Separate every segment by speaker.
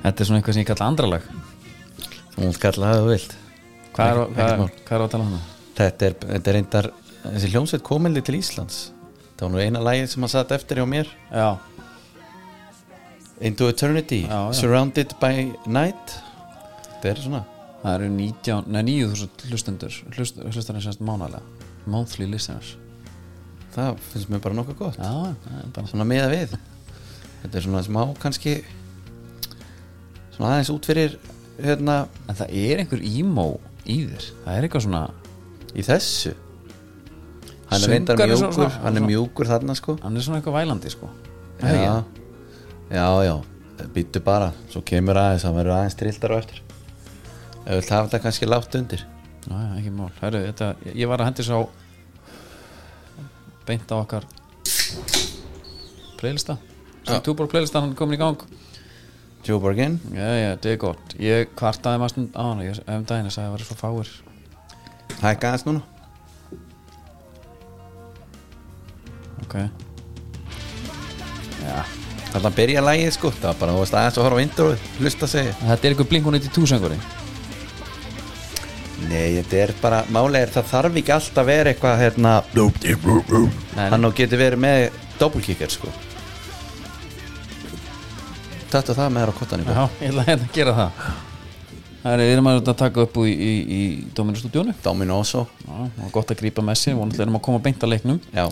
Speaker 1: Þetta er svona eitthvað sem ég kalla andralag
Speaker 2: Þú mútt kalla það þú vilt
Speaker 1: Hvað er, hvað,
Speaker 2: Ekkert- ekkert
Speaker 1: er,
Speaker 2: mál.
Speaker 1: hvað er á að tala um það?
Speaker 2: Þetta er, þetta er reyndar Þessi hljómsveit kominli til Íslands Það var nú eina lagið sem að satt eftir hjá mér
Speaker 1: Já,
Speaker 2: Into Eternity,
Speaker 1: Já, já.
Speaker 2: Surrounded by Night Þetta er svona
Speaker 1: það eru 19, nei, 9000 hlustendur hlust, hlustendur semst mánalega monthly listeners
Speaker 2: Það finnst mér bara nokkuð gott
Speaker 1: Já, það er bara
Speaker 2: Svona meða við Þetta er svona smá kannski Svona aðeins út fyrir Hérna
Speaker 1: En það er einhver emo í þér Það er eitthvað svona
Speaker 2: í þessu Hann er
Speaker 1: Söngari
Speaker 2: reyndar
Speaker 1: svona-
Speaker 2: mjúkur
Speaker 1: svona-
Speaker 2: Hann er
Speaker 1: svona-
Speaker 2: mjúkur þarna sko
Speaker 1: Hann er svona eitthvað vælandi sko
Speaker 2: Já, já, já Býttu bara, svo kemur aðeins Það verður aðeins trilltar á eftir Ef við hafa þetta kannski látt undir
Speaker 1: Já, já, ekki mál Heru, þetta, Ég var að hendi sá beint á okkar playlista sem túbor playlista hann komin í gang
Speaker 2: Joe Bergin
Speaker 1: Já, já, þetta er gott Ég kvartaði maður stund á hann Ég um daginn að sagði að það var svo fáir
Speaker 2: Hækka aðeins núna
Speaker 1: Ok
Speaker 2: Þarna byrja lagið sko Það var bara þú veist, aðeins að horfa á introið Hlusta sig
Speaker 1: En Þetta er einhver blinkun eitt í túsenguri
Speaker 2: Nei, þetta er bara Málega er það þarf ekki alltaf að vera eitthvað hérna Hann og getur verið með Doppelkicker sko Tattu það með þér á kottan í
Speaker 1: Já, ég ætla hérna að gera það Það er, við erum að taka upp í, í, í Dominus stúdíónu
Speaker 2: Dominoso
Speaker 1: Já, og gott að grípa með sér, vonandi erum að koma beint að leiknum
Speaker 2: Já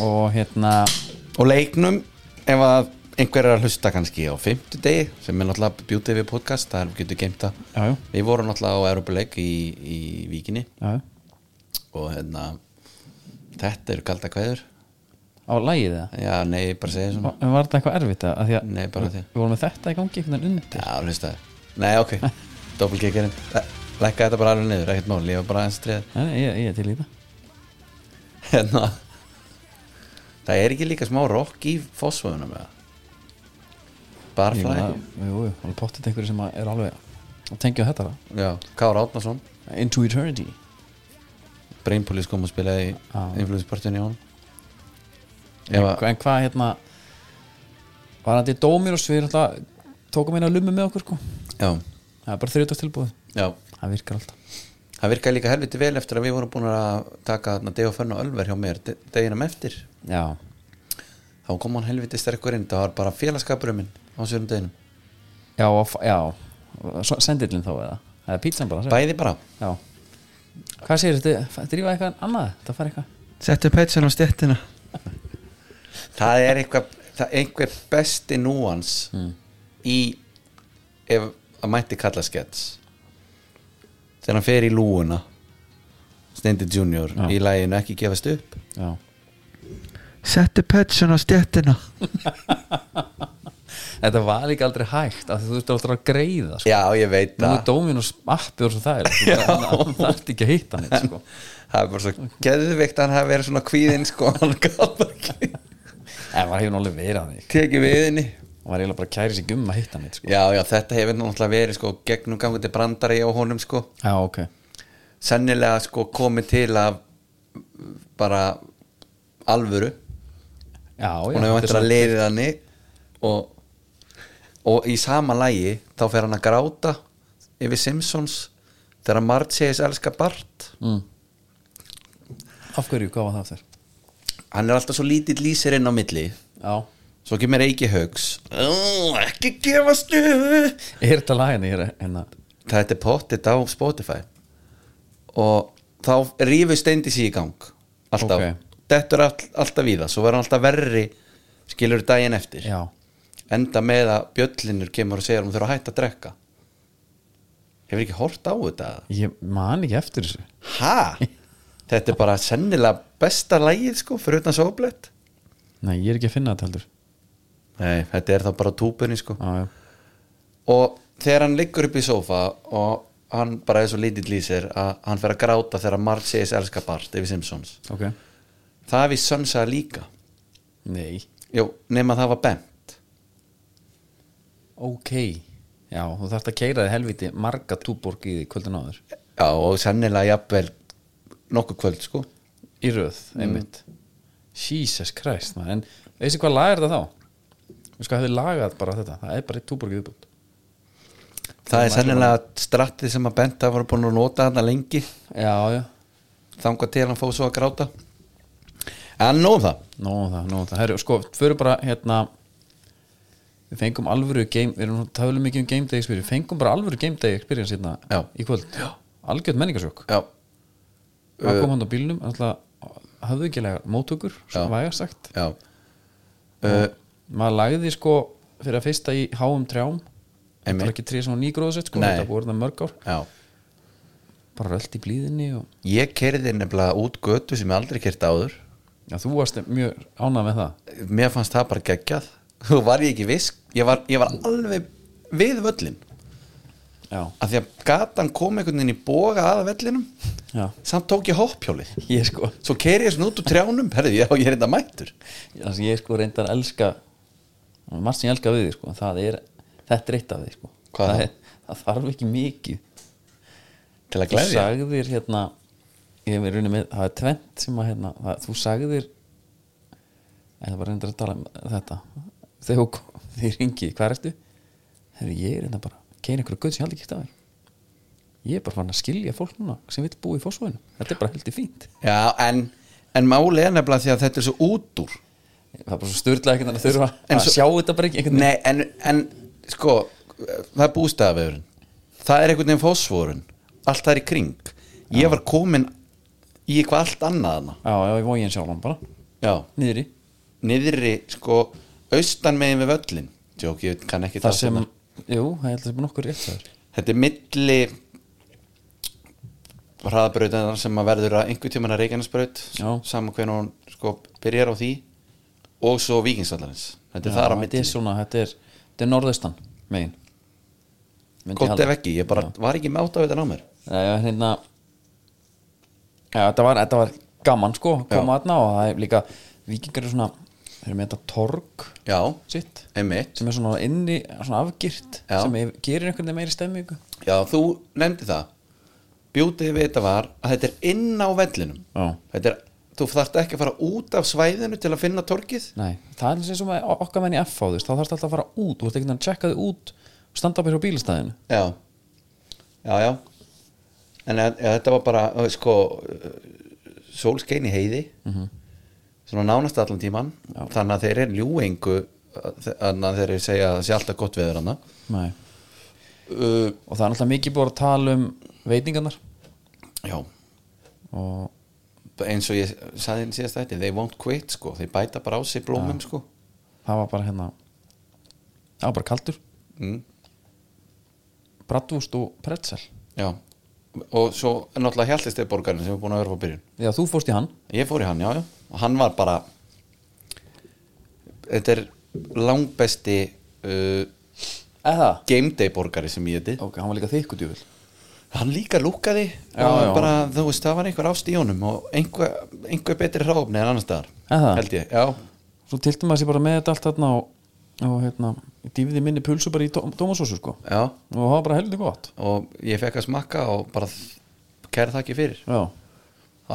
Speaker 1: og hérna
Speaker 2: og leiknum ef að einhver er að hlusta kannski á fimmtudegi sem er náttúrulega bjútið við podcast það er getur geimt að
Speaker 1: já, já,
Speaker 2: við vorum náttúrulega á Europuleik í, í vikinni
Speaker 1: já,
Speaker 2: og hérna þetta eru kalda kveður
Speaker 1: á lagið það
Speaker 2: já nei ég bara segja svona
Speaker 1: var var þetta eitthvað erfitt að, að því að
Speaker 2: Nei, bara því.
Speaker 1: við vorum með þetta í gangi einhvern veginn undir
Speaker 2: já hlusta nei ok doppelkikirinn lækka þetta bara alveg niður ekkert mál ég var bara aðeins treð
Speaker 1: Nei, nei, ég, ég er til í það
Speaker 2: hérna það er ekki líka smá rock í fósfóðuna með það
Speaker 1: Ég
Speaker 2: barflæ
Speaker 1: meina, Jú, jú, alveg pottið einhverju sem að er alveg að tengja þetta það.
Speaker 2: já Kára Átnason
Speaker 1: Into Eternity
Speaker 2: Brainpolis kom að spila í
Speaker 1: Já.
Speaker 2: influenspartinu í honum
Speaker 1: en,
Speaker 2: ef að,
Speaker 1: en hvað hérna var hann til Dominus við alltaf, tókum eina lummi með okkur sko.
Speaker 2: já,
Speaker 1: það er bara þriðtast tilbúið
Speaker 2: já
Speaker 1: það virkar alltaf
Speaker 2: það virkaði líka helviti vel eftir að við vorum búin að taka þarna Deo Fönn og Ölver hjá mér de- deginum eftir,
Speaker 1: já,
Speaker 2: þá kom hann helviti sterkur inn, það var bara félagskapurinn minn á sérum deginum,
Speaker 1: já, og f- já. Svo- sendillinn þá eða eða pítsan bara sem-
Speaker 2: bæði bara
Speaker 1: Já Hvað segir þetta? Drífa eitthvað annað? Þetta fara eitthvað?
Speaker 2: Settu petsel á stjettina Það er eitthvað það er einhver besti núans
Speaker 1: Mm.
Speaker 2: í ef að mætti kalla skets þegar hann fer í lúuna Steindi Junior
Speaker 1: Já.
Speaker 2: í læginu ekki gefast upp
Speaker 1: Já
Speaker 2: Settu petsun á stjettina
Speaker 1: Þetta var líka aldrei hægt af því þú veist aldrei að greiða sko.
Speaker 2: Já, ég veit
Speaker 1: Nú er
Speaker 2: það
Speaker 1: Dominus appi og svo það er sko. Það þarf ekki að hitta hann sko.
Speaker 2: Það er bara svo geðvikt að hann hafi verið svona kvíðinn sko, hann gaf bara ekki
Speaker 1: En maður hefur nú alveg verið hann sko.
Speaker 2: tekið við henni
Speaker 1: Maður er eiginlega bara að kæri sig um að hitta hann sko.
Speaker 2: Já, já, þetta hefur náttúrulega verið sko gegnum gangandi brandari á honum sko
Speaker 1: Já, ok
Speaker 2: sennilega sko komið til af bara alvöru
Speaker 1: Já, já
Speaker 2: hún
Speaker 1: þetta
Speaker 2: hefur
Speaker 1: er
Speaker 2: vantur að
Speaker 1: svona-
Speaker 2: leiðið hann og, og í sama lægi þá fer hann að gráta yfir Simpsons þegar Mart segis elska Bart
Speaker 1: mm. Af hverju, hvað var það aftur?
Speaker 2: hann er alltaf svo lítill lýsir inn á milli
Speaker 1: Já
Speaker 2: svo kemur Eiki Haugs "Ó, ekki gefa stuðu
Speaker 1: Er þetta lagin í hérna?
Speaker 2: þetta er pottitt á Spotify og þá rífur steindi sig í gang alltaf,
Speaker 1: Ok.
Speaker 2: dettur all, alltaf í það svo verður hann alltaf verri skilur daginn eftir
Speaker 1: Já
Speaker 2: enda með að bjöllinur kemur og segir hún þurfa að hætta að drekka hefur ekki hort á þetta
Speaker 1: Ég man ekki eftir þessu
Speaker 2: ha? þetta er bara sennilega besta lægið sko, fyrir utan sóblett
Speaker 1: Nei, ég er ekki að finna þetta heldur
Speaker 2: nei, þetta er þá bara túpunni sko
Speaker 1: Já, já
Speaker 2: og þegar hann liggur upp í sófa og hann bara er svo lítill í sér að hann fer að gráta þegar Marge segis elska Bart yfir Simpsons
Speaker 1: Ok
Speaker 2: það er við sönsa líka
Speaker 1: Nei
Speaker 2: Jó, nema það var bent
Speaker 1: Ok Já, þú þarft að keira þig helviti marga túborg í því kvöldin áður
Speaker 2: já, og sennilega jafnvel nokkuð kvöld sko
Speaker 1: Í röð, einmitt Jesus Christ, maður En veistu hvað lagar þetta þá? Veistu hvað hefði lagað bara þetta? Það er bara eitt túborg í viðbútt
Speaker 2: það er sennilega strattið sem að benda voru búin að nota þarna lengi
Speaker 1: já, já,
Speaker 2: þangað til hann fóð svo að gráta en nóg um það
Speaker 1: nóg um það, nóg um það Herru, sko, fyrir bara hérna við fengum alvöru game við erum tafðið mikið um game day experience við fengum bara alvöru game day experience hérna
Speaker 2: Já.
Speaker 1: í kvöld algjörð menningarsjók
Speaker 2: já, Eh,
Speaker 1: það kom hann á bílnum alltaf hafðu ekki lega móttökur svo
Speaker 2: Já.
Speaker 1: vægar sagt
Speaker 2: já uh,
Speaker 1: maður lagði sko fyrir að fyrsta í háum trjám það
Speaker 2: Einmitt.
Speaker 1: var ekki tré sem var nýgróðsett sko
Speaker 2: Nei.
Speaker 1: þetta voru það mörg ár
Speaker 2: já
Speaker 1: bara rölt í blíðinni og
Speaker 2: ég kerði nefnilega út götu sem ég aldrei kerti áður
Speaker 1: já, þú varst mjög ánað með það
Speaker 2: mér fannst það bara geggjað þú var ég ekki viss ég var, ég var alveg við völlin
Speaker 1: já,
Speaker 2: af því að gatan kom einhvern veginn í boga að vellinum
Speaker 1: já,
Speaker 2: samt tók ég hoppjólið
Speaker 1: ég sko
Speaker 2: svo keiri ég svona út úr trjánum herði ég, ég er þetta mættur
Speaker 1: það sem ég sko reyndar elska margt sem ég elska við því sko það er, þetta er eitt af því sko
Speaker 2: Hvað
Speaker 1: það,
Speaker 2: þá?
Speaker 1: er, það þarf ekki mikið
Speaker 2: til að
Speaker 1: þú
Speaker 2: glæðja
Speaker 1: sagðir hérna ég hef raunin með, það er tvent sem að hérna það, þú sagðir en það var reyndar að tala um þetta þegar þú- þið ringi, hvað ertu? þegar ég er hérna bara keina einhverju guð sem ég aldrei kýtt af þér ég er bara fann að skilja fólk núna sem vil búa í fósvöðinu þetta er bara heldur fínt
Speaker 2: já, en, en máli er nefnilega því að þetta er svo út úr
Speaker 1: það er bara svo styrla ekkert að þurfa
Speaker 2: En
Speaker 1: að
Speaker 2: svo-
Speaker 1: sjá þetta bara ekki einhvern veginn.
Speaker 2: Nei, en, en sko það er bústafavegurinn það er einhvern veginn fósfórun allt það er í kring ég var komin í eitthvað allt annað hana.
Speaker 1: já, já, ég vói einn sjálfan bara
Speaker 2: já,
Speaker 1: niður í
Speaker 2: niðri sko austan megin við völlin Jók, ég kann ekki hérna.
Speaker 1: það
Speaker 2: það
Speaker 1: sem, jú, það held að sem nokkur rétt það
Speaker 2: þetta er milli hraðabrautin sem að verður að einhver tíman að Reykjanesbraut
Speaker 1: Já.
Speaker 2: saman hvernig hún sko byrjar á því og svo Víkingsvallarins þetta er þar að
Speaker 1: þetta
Speaker 2: milli
Speaker 1: er svona, þetta er, þetta er norðaustan megin Myndi ég
Speaker 2: gott
Speaker 1: halda.
Speaker 2: ef ekki, ég bara var ekki með átt af þetta ná mér
Speaker 1: Já, já, hérna Já, þetta var, þetta var gaman sko að koma þarna og það er líka vikingar eru svona, þeir eru með þetta torg
Speaker 2: já,
Speaker 1: sitt,
Speaker 2: einmitt
Speaker 1: sem er svona inni svona afgirt,
Speaker 2: Já.
Speaker 1: sem er, gerir einhvern veginn meiri stemmingu
Speaker 2: já, þú nefndi það bjútið við þetta var að þetta er inn á vellinum
Speaker 1: Já.
Speaker 2: þetta er, þú þarft ekki að fara út af svæðinu til að finna torkið
Speaker 1: Nei, það er eins og með okkar menn í F á þess þá þarfst alltaf að fara út, þú ert ekkert að checka þig út og standa upp hér á bílastæðinu
Speaker 2: Já, já, já En að, að þetta var bara, uh, sko uh, Sólskein í heiði Svona nánast allan tíman
Speaker 1: Já.
Speaker 2: Þannig að þeir eru ljúengu Þannig að þeir eru segja að það sé alltaf gott veður hana
Speaker 1: Nei.
Speaker 2: uh,
Speaker 1: og það er alltaf mikið búið að tala um veitingarnar
Speaker 2: Já,
Speaker 1: og
Speaker 2: eins og ég saði henni síðast þetta They won't quit, sko, þeir bæta bara á sig blómum, sko
Speaker 1: það var bara hérna það var bara kaldur
Speaker 2: mm.
Speaker 1: brattúst og pretzel
Speaker 2: Já Og svo náttúrulega hjáltist þeir borgarinn sem er búin að vera á byrjun
Speaker 1: eða þú fórst í hann
Speaker 2: Ég fór í hann, já, já og hann var bara þetta er langbesti uh,
Speaker 1: eða
Speaker 2: game day borgari sem ég heiti
Speaker 1: ok, hann var líka þykku djúvel
Speaker 2: hann líka lúkaði
Speaker 1: Já,
Speaker 2: og
Speaker 1: já.
Speaker 2: bara, þú veist, það var einhver ást í honum og einhver, einhver betri hráfni en annars staðar,
Speaker 1: Eða?
Speaker 2: held ég, já
Speaker 1: svo tiltum maður sér bara með þetta allt þarna og, og hérna, dýfiði minni pulsu bara í tómasósu sko
Speaker 2: já,
Speaker 1: og það var bara heldur gott
Speaker 2: og ég fekk að smakka og bara kæra þakki fyrir
Speaker 1: já,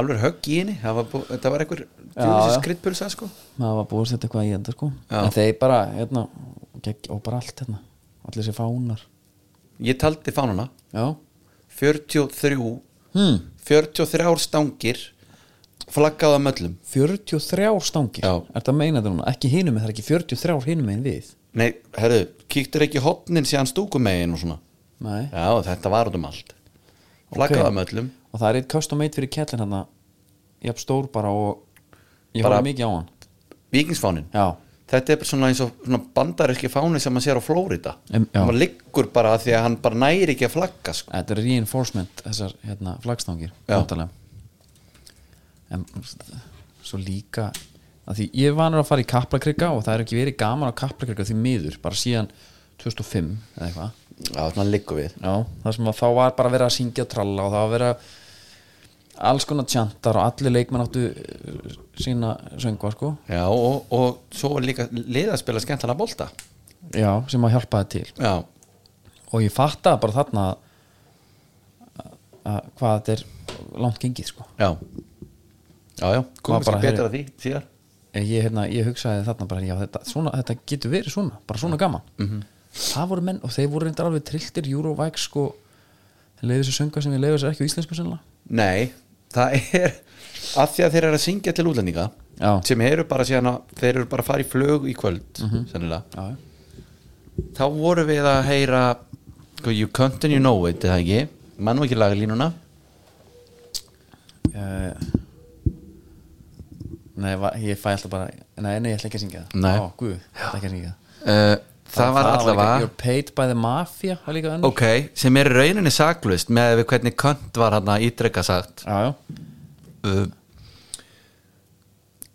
Speaker 2: alveg högg í henni, það var, bú- þetta var einhver
Speaker 1: já.
Speaker 2: djúlisins kryddpulsa, sko
Speaker 1: það var búið að setja eitthvað í enda sko
Speaker 2: Já.
Speaker 1: en þeir bara, hérna, gegg, og bara allt hérna allir sér fánar
Speaker 2: ég taldi fánuna
Speaker 1: já,
Speaker 2: 43
Speaker 1: hmm,
Speaker 2: 43 stangir flaggaða möllum
Speaker 1: 43 stangir
Speaker 2: Já.
Speaker 1: er það meina þetta núna, ekki hinum en það er ekki 43 hinum en við
Speaker 2: Nei, herru, kíktur ekki hotnin síðan stúkumegin og svona
Speaker 1: Nei.
Speaker 2: Já, þetta var út um allt Flakkaða
Speaker 1: Ok.
Speaker 2: með öllum
Speaker 1: og það er eitt custom made fyrir kettlin hann jafn stór bara og ég
Speaker 2: Bara-
Speaker 1: horfði mikið á hann
Speaker 2: Víkingsfánin
Speaker 1: já,
Speaker 2: Þetta er bara svona eins og svona bandaríski fáni sem maður sér á Flórida
Speaker 1: Em, já.
Speaker 2: Maður liggur bara af því að hann bara næri ekki að flagga sko.
Speaker 1: þetta er reinforcement þessar hérna, flaggstangir
Speaker 2: Já.
Speaker 1: væntanlega. en svo líka að því ég er vanur að fara í kaplakrykka og það er ekki verið gaman á kaplakrykka því miður bara síðan 2005 eða eitthvað
Speaker 2: Já, þannig að liggur við
Speaker 1: já, það sem að þá var bara verið að syngja og tralla og það var verið að alls konar tjantar og allir leikmenn áttu eh, sína söngva sko
Speaker 2: Já, og, og svo var líka liðaspila skemmtana bolta
Speaker 1: já, sem að hjálpa það til
Speaker 2: Já,
Speaker 1: og ég fattaði bara þarna að, að hvað þetta er langt gengið sko
Speaker 2: já Já, já,
Speaker 1: Maður
Speaker 2: komið
Speaker 1: bara,
Speaker 2: sér betra
Speaker 1: herri-
Speaker 2: að því síðar Mhm.
Speaker 1: ég, hérna, ég hugsaði þarna bara já, þetta, svona, þetta getur verið svona bara svona gaman -hmm. það voru menn og þeir voru reyndar alveg trilltir Eurovax sko þeir leiðu sér sönga sem við leiðu sér ekki á íslensku sennilega
Speaker 2: Nei, það er að því að þeir eru að syngja til útlendinga
Speaker 1: Já.
Speaker 2: sem eru bara síðan að þeir eru bara að fara í flög í kvöld sennilega,
Speaker 1: já, já.
Speaker 2: þá voru við að heyra sko, You Can't and You Know It eða ekki, mann og ekki laglínuna
Speaker 1: Eh, Nei, va- ég fæ alltaf bara Nei, nei, ég ætla ekki að syngja það
Speaker 2: Nei.
Speaker 1: Ó, guð, ég ætla ekki að syngja það
Speaker 2: uh, það var
Speaker 1: líka,
Speaker 2: allavega
Speaker 1: You're paid by the mafia var líka önnur
Speaker 2: ok, sem er í rauninni saklust með við hvernig Kant var hann að ítrekka sagt
Speaker 1: Já, já,
Speaker 2: uh,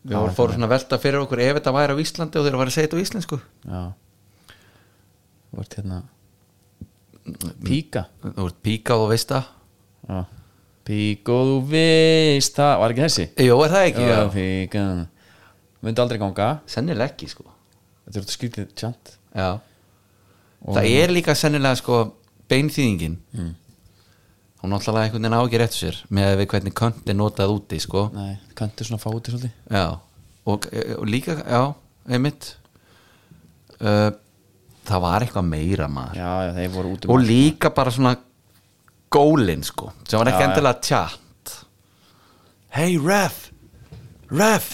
Speaker 2: við vorum fórum svona að velta fyrir okkur ef þetta væri á Íslandi og þeir var að segja þetta á íslensku
Speaker 1: já Þú ert hérna
Speaker 2: Mm.
Speaker 1: Píka
Speaker 2: þú ert píka og þú veist það
Speaker 1: já. Píka og þú veist það Var ekki þessi?
Speaker 2: Jó, er það ekki? Já.
Speaker 1: Píka Myndi aldrei ganga
Speaker 2: Sennilega ekki, sko
Speaker 1: Þetta er út skrýtlið tjant
Speaker 2: Já Það er líka sennilega, sko, beinþýðingin mm. Hún náttúrulega einhvern veginn á ekki réttu sér með við hvernig könt er notað úti, sko
Speaker 1: Nei, kanntu svona fáið til svolítið
Speaker 2: Já Og, og líka, já, einmitt uh, Það var eitthvað meira maður
Speaker 1: Já, já, þeir voru út um
Speaker 2: Og líka bara svona gólin, sko sem var ekki
Speaker 1: Já, já.
Speaker 2: endilega tjátt Hey, ref Ref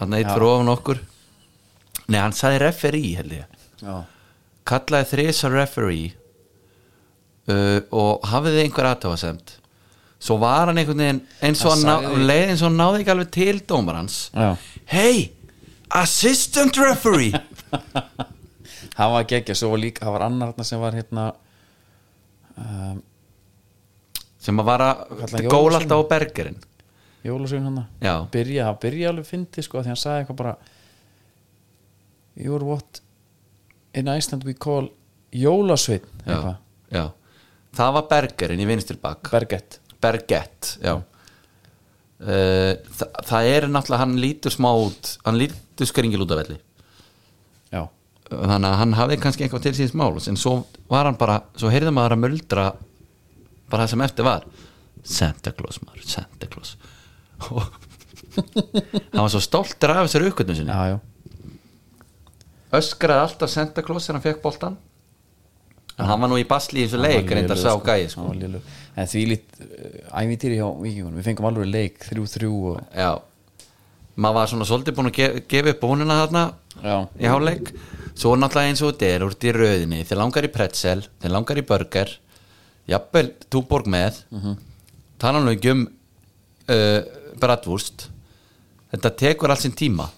Speaker 2: Þannig eitt fyrir ofan okkur Nei, hann sagði referee, held ég
Speaker 1: Já,
Speaker 2: kallaði þrisa referee uh, og hafiði einhver aðtöfasemt svo var hann einhvern veginn eins og
Speaker 1: Hann
Speaker 2: hann ná, um
Speaker 1: sagði-
Speaker 2: leið eins og hann náði ekki alveg til dómarans
Speaker 1: já
Speaker 2: hey, assistant referee
Speaker 1: hann var geggja, svo var líka hann var annar þarna sem var hérna um,
Speaker 2: sem að vara
Speaker 1: Kallar um hann
Speaker 2: góla
Speaker 1: Jólasvein?
Speaker 2: alltaf á bergerinn
Speaker 1: Jólasvein hann
Speaker 2: Já.
Speaker 1: byrja, hann byrja alveg fyndi sko, því hann sagði eitthvað bara you're what in Iceland we call Jólasvein
Speaker 2: já,
Speaker 1: eitthvað,
Speaker 2: já. það var bergerinn í vinstirbak
Speaker 1: Bergett
Speaker 2: Bergett já. Uh, þa það er náttúrulega hann lítur smá út hann lítur skringil út af velli Mm.
Speaker 1: já,
Speaker 2: þannig að hann hafði kannski eitthvað til síðan máls en svo var hann bara, svo heyrði maður að muldra bara það sem eftir var Santa Claus maður, Santa Claus og hann var svo stoltur af þessari uppgötnum sinni
Speaker 1: já, já, öskraði
Speaker 2: öskraði alltaf Santa Claus þegar hann fekk boltan en hann var nú í basli í þessu leik
Speaker 1: Hann var
Speaker 2: reyndar
Speaker 1: lélegur,
Speaker 2: sá gæi
Speaker 1: Hann
Speaker 2: sko
Speaker 1: var lélegur. en því lít eh, ævintýri hjá vikingunum, við fengum alveg leik 3-3 og
Speaker 2: já, maður var svona svolítið búin að ge gefa upp bónina þarna
Speaker 1: já,
Speaker 2: í háleik svo er náttúrulega eins og þetta er úr í rauðinni þeir langar í pretzel, þeir langar í burger jafnvel túborg með mm
Speaker 1: Mhm.
Speaker 2: -hmm. tala nú ekki um uh, bratwurst þetta tekur alls sinn tíma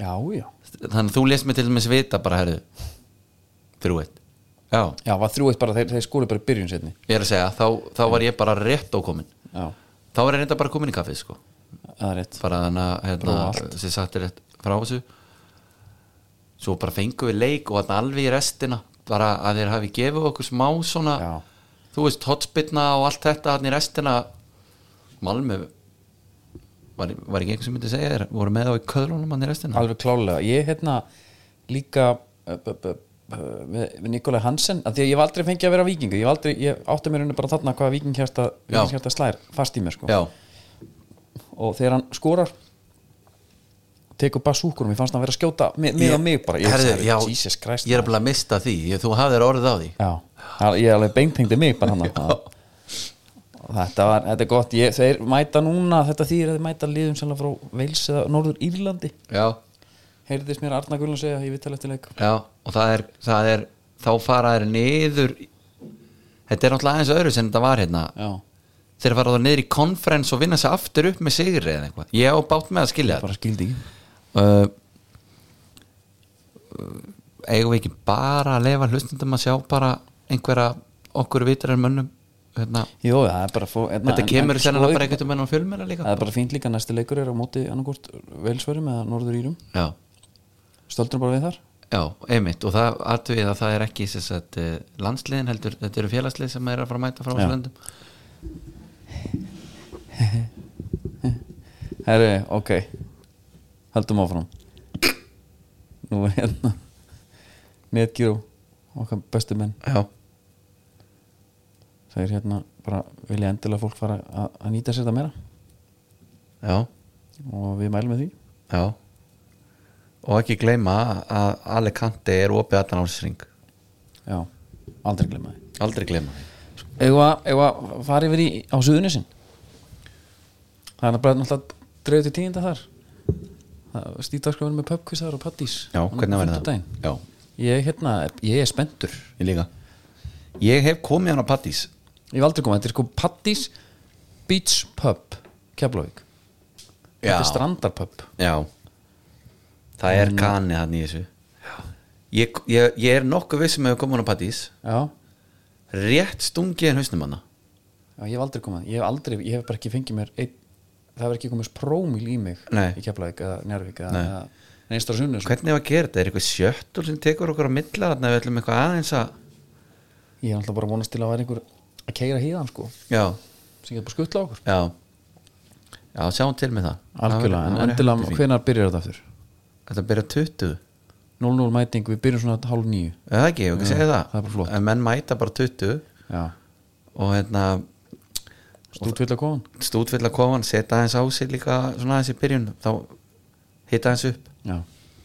Speaker 1: já, já
Speaker 2: þannig að þú lést mig til dæmis vita bara herðu þrjú eitt já,
Speaker 1: já, var 3-1 bara, þeir, þeir skólu bara í byrjun setni
Speaker 2: ég er að segja, þá, þá var ég bara rétt ókomin
Speaker 1: já,
Speaker 2: þá var ég reynda bara komin í kaffið sko
Speaker 1: það er rétt
Speaker 2: bara þannig
Speaker 1: Prófa
Speaker 2: að
Speaker 1: allt.
Speaker 2: hérna, sem sagt er rétt frá þessu svo bara fengum við leik og þannig alveg í restina bara að þeir hafi gefið okkur smá svona
Speaker 1: Já.
Speaker 2: þú veist, hotspilna og allt þetta þannig í restina Malmö var, var ekki einhver sem myndi segja þér voru með á í köðlunum hann í restina
Speaker 1: alveg klálega ég hérna líka uh, b- b- b- með, með Nikolai Hansen að því að ég hef aldrei fengið að vera vikingu ég, hef aldrei, ég átti mér henni bara þarna hvað vikingkjærsta
Speaker 2: Já.
Speaker 1: vikingkjærsta slær fast í mér sko
Speaker 2: já,
Speaker 1: og þegar hann skorar tekur bara súkurum, ég fannst hann vera að skjóta mi- mig og mig bara, ég
Speaker 2: Herðu,
Speaker 1: sagði,
Speaker 2: já,
Speaker 1: Jesus Christ
Speaker 2: ég er bara að mista því, ég, þú hafðir orðið á því
Speaker 1: já, það- ég er alveg beintengdi mig bara hann þetta var, þetta er gott ég, þeir mæta núna, þetta þýr að þeir mæta liðum sannlega frá Vels eða Norður Írlandi
Speaker 2: já,
Speaker 1: heyrðist mér Arna Gullun segja í vital eftir leik
Speaker 2: Já, og það er, það er þá fara þær niður þetta er náttúrulega aðeins öðru sem þetta var hérna
Speaker 1: já,
Speaker 2: þeir fara þá niður í konferens og vinna sér aftur upp með sigri eða eitthvað, ég á bát með að skilja þetta
Speaker 1: bara skildi ekki
Speaker 2: uh, eigum við ekki bara að lefa hlustundum að sjá bara einhverja okkur vitrar mönnum hérna,
Speaker 1: Jó, það er bara fó, hérna, einna,
Speaker 2: þetta kemur sennilega bara
Speaker 1: ekki
Speaker 2: einhvern veginn á fjölmjöla líka
Speaker 1: Það er bara fínt líka, næsti leikur er á móti annarkvort velsverjum eða norður írum
Speaker 2: já,
Speaker 1: Stöldur bara við þar
Speaker 2: já, einmitt og það atvið að það er ekki sem sagt, eh, landsliðin heldur, þetta eru félagslið sem er að fara að mæta frá
Speaker 1: Já.
Speaker 2: þessu löndum
Speaker 1: Herri, ok Heldum áfram Nú er hérna Netgjó, okkar bestu menn
Speaker 2: já,
Speaker 1: Það er hérna, bara vilja endilega fólk fara að að nýta sér þetta meira
Speaker 2: já
Speaker 1: og við mælum með því
Speaker 2: Já Og ekki gleyma að Alicante er opið aðan álsring
Speaker 1: já, aldrei glemma því
Speaker 2: Aldrei glemma því
Speaker 1: Eigum að- eigum að fara yfir í á suðunisinn Það er bara náttúrulega dreifð til tíðinda þar Stíðdagskrifan með pubquizar og pattís
Speaker 2: Já, hvernig verður það? Já,
Speaker 1: Ég, hérna, ég er spenntur
Speaker 2: ég líka Ég hef komið hann á Pattís
Speaker 1: Ég hef aldrei komað, þetta er sko pattís Beach Pub, Keflavík Þetta er strandarpub
Speaker 2: Já Það er kanni hann í þessu ég, ég, ég er nokkuð vissum að við komum á Pattís
Speaker 1: Já,
Speaker 2: Rétt stungið en hausnum hana
Speaker 1: já ég hef aldrei komað Ég hef aldrei, ég hef bara ekki fengið mér einn Það hefur ekki komið prómil í mig
Speaker 2: Nei.
Speaker 1: Í Keflavík eða Njárvík
Speaker 2: Nei.
Speaker 1: eða Neistar Sunnes
Speaker 2: Hvernig var að gera þetta? Er eitthvað sjöttul sem tekur okkur á milla Þannig að við ætlum eitthvað aðeins að
Speaker 1: Ég er alltaf bara að vonast til að vera einhver að keira híðan sko
Speaker 2: Já,
Speaker 1: sem getur bara skuttla okkur
Speaker 2: já Já, sjáum til með það
Speaker 1: Algjörlega, en
Speaker 2: Það væri- það væri
Speaker 1: endilega
Speaker 2: heldur fínt.
Speaker 1: hvenar byrjar þetta aftur?
Speaker 2: Þetta byrja 20
Speaker 1: 0-0 mæting, við byrjum svona hálf nýju
Speaker 2: Er Það ekki, ég ekki segja það
Speaker 1: það er bara flott.
Speaker 2: En menn mæta bara 20
Speaker 1: Já,
Speaker 2: Og hérna,
Speaker 1: stútvill að koma
Speaker 2: stútvill að koma setja aðeins á sig líka svona aðeins í byrjun þá hitta aðeins upp
Speaker 1: Já,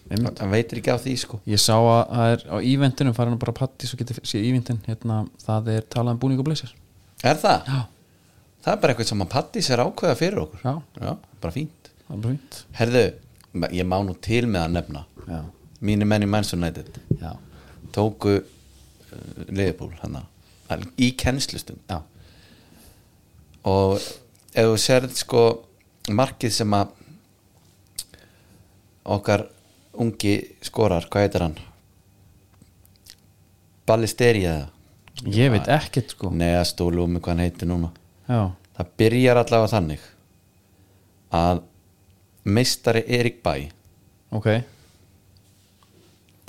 Speaker 1: einmitt
Speaker 2: hann veitir ekki á því sko
Speaker 1: Ég sá að það er á íventinu farin bara patti svo getur séð íventin hérna, það er talað um búning og blessir
Speaker 2: er það?
Speaker 1: Já,
Speaker 2: það er bara eitthvað sem að Pattis er ákveða fyrir okkur
Speaker 1: já,
Speaker 2: bara fínt
Speaker 1: það er bara fínt
Speaker 2: herðu, ma- ég má nú til með að nefna
Speaker 1: Já,
Speaker 2: mínir menn í Men's United
Speaker 1: já,
Speaker 2: tóku uh, liðbúl hann í kennslustund
Speaker 1: já,
Speaker 2: og ef þú serð sko markið sem að okkar ungi skorar, hvað heitir hann? Ballisteri eða?
Speaker 1: ég veit ekkert sko
Speaker 2: Neðastólu um hvað hann heitir núna
Speaker 1: Já,
Speaker 2: það byrjar allavega þannig að meistari Erik Bæ
Speaker 1: ok,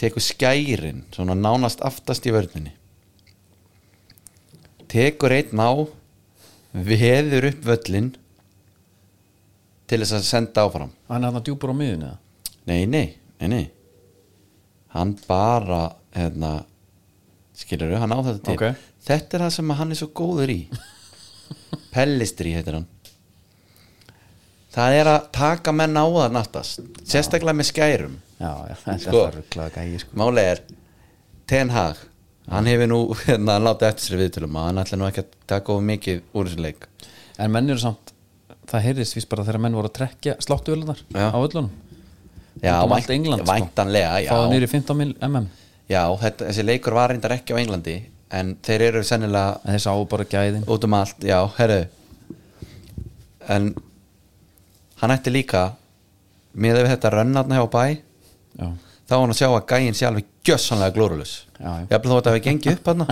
Speaker 2: tekur skærin svona nánast aftast í vörninni tekur einn á veður upp völlin til þess að senda áfram
Speaker 1: hann er þarna djúpur á miðun eða
Speaker 2: Nei, nei, nei, nei Hann bara hérna, skilur hann á þetta til
Speaker 1: Ok.
Speaker 2: Þetta er það sem hann er svo góður í Pellistri heitir hann Það er að taka menn á það nattast Sérstaklega með skærum
Speaker 1: Já, já, þetta
Speaker 2: Sko.
Speaker 1: er rugglaða gæi sko
Speaker 2: Máli er Ten Hag Hann hefur nú, hérna, hann láti eftir sér viðtölum að Hann ætla nú ekki að taka of mikið úr þessu leik
Speaker 1: En menn eru samt, það heyrðist víst bara þegar menn voru að trekkja sláttuvelunar
Speaker 2: Já.
Speaker 1: á öllunum
Speaker 2: Já,
Speaker 1: Út um allt England, sko.
Speaker 2: væntanlega já.
Speaker 1: Fáðu nýri 15 mil mm
Speaker 2: já, þetta, þessi leikur var reyndar ekki á Englandi En þeir eru sennilega
Speaker 1: En þeir sáu bara gæðin
Speaker 2: út um allt, já, herru en hann ætti líka með ef þetta rönnarna hjá bæ
Speaker 1: Já,
Speaker 2: þá var hann að sjá að gæinn sé alveg gjössanlega glórulus
Speaker 1: Já, já.
Speaker 2: jafnvel þó að þetta hefði gengið upp hann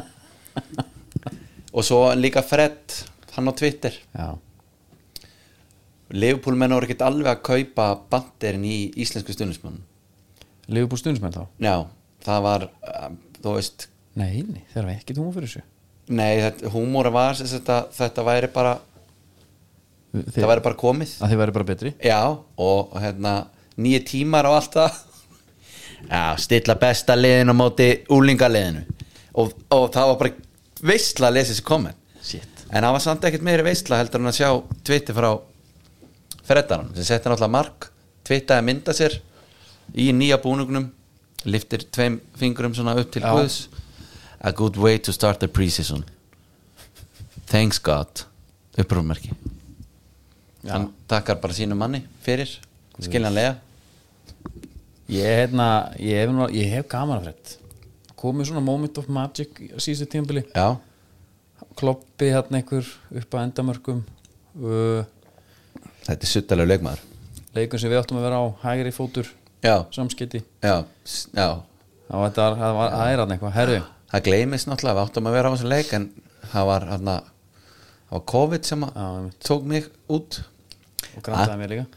Speaker 2: og svo líka Fred hann á Twitter
Speaker 1: já,
Speaker 2: Leifupúlmenn voru ekkert alveg að kaupa bandirinn í íslensku stundismann
Speaker 1: Liverpool stundismenn þá
Speaker 2: já, það var uh, þú veist,
Speaker 1: Nei, nei, þeir eru ekkert hún fyrir þessu
Speaker 2: nei, þetta, húmóra var sem sagt að þetta væri bara,
Speaker 1: þeir,
Speaker 2: það væri bara komið
Speaker 1: Að þeir væri bara betri
Speaker 2: Já, og hérna nýju tímar og allt það Já, stilla besta liðin á móti úlingaliðinu og, og það var bara veistla að lesa þessi komment
Speaker 1: Shit
Speaker 2: en það var samt ekkert meiri veistla heldur en að sjá tviti frá freddarann sem setti náttúrulega mark tvitaði að mynda sér í nýja búnugnum liftir tveim fingrum svona upp til
Speaker 1: Já.
Speaker 2: Guðs A good way to start the preseason Thanks God upprúmerki hann takkar bara sínu manni fyrir skiljanlega
Speaker 1: Ég, hérna, ég, hef, nú- ég hef gaman af þetta Komið svona moment of magic á síðustu tímbili
Speaker 2: Já,
Speaker 1: Kloppi hérna einhver upp að endamörkum uh,
Speaker 2: þetta er suttalega leikmaður
Speaker 1: Leikun sem við áttum að vera á Hægri fótur,
Speaker 2: Já,
Speaker 1: samskiti
Speaker 2: já, s- já
Speaker 1: Það var- það var- það var- það er hann eitthvað Herðu,
Speaker 2: Það gleymis náttúrulega, við áttum að vera á þessum leik en það var hann það var COVID sem að
Speaker 1: Já, einmitt.
Speaker 2: tók mig út
Speaker 1: og grantaði mér líka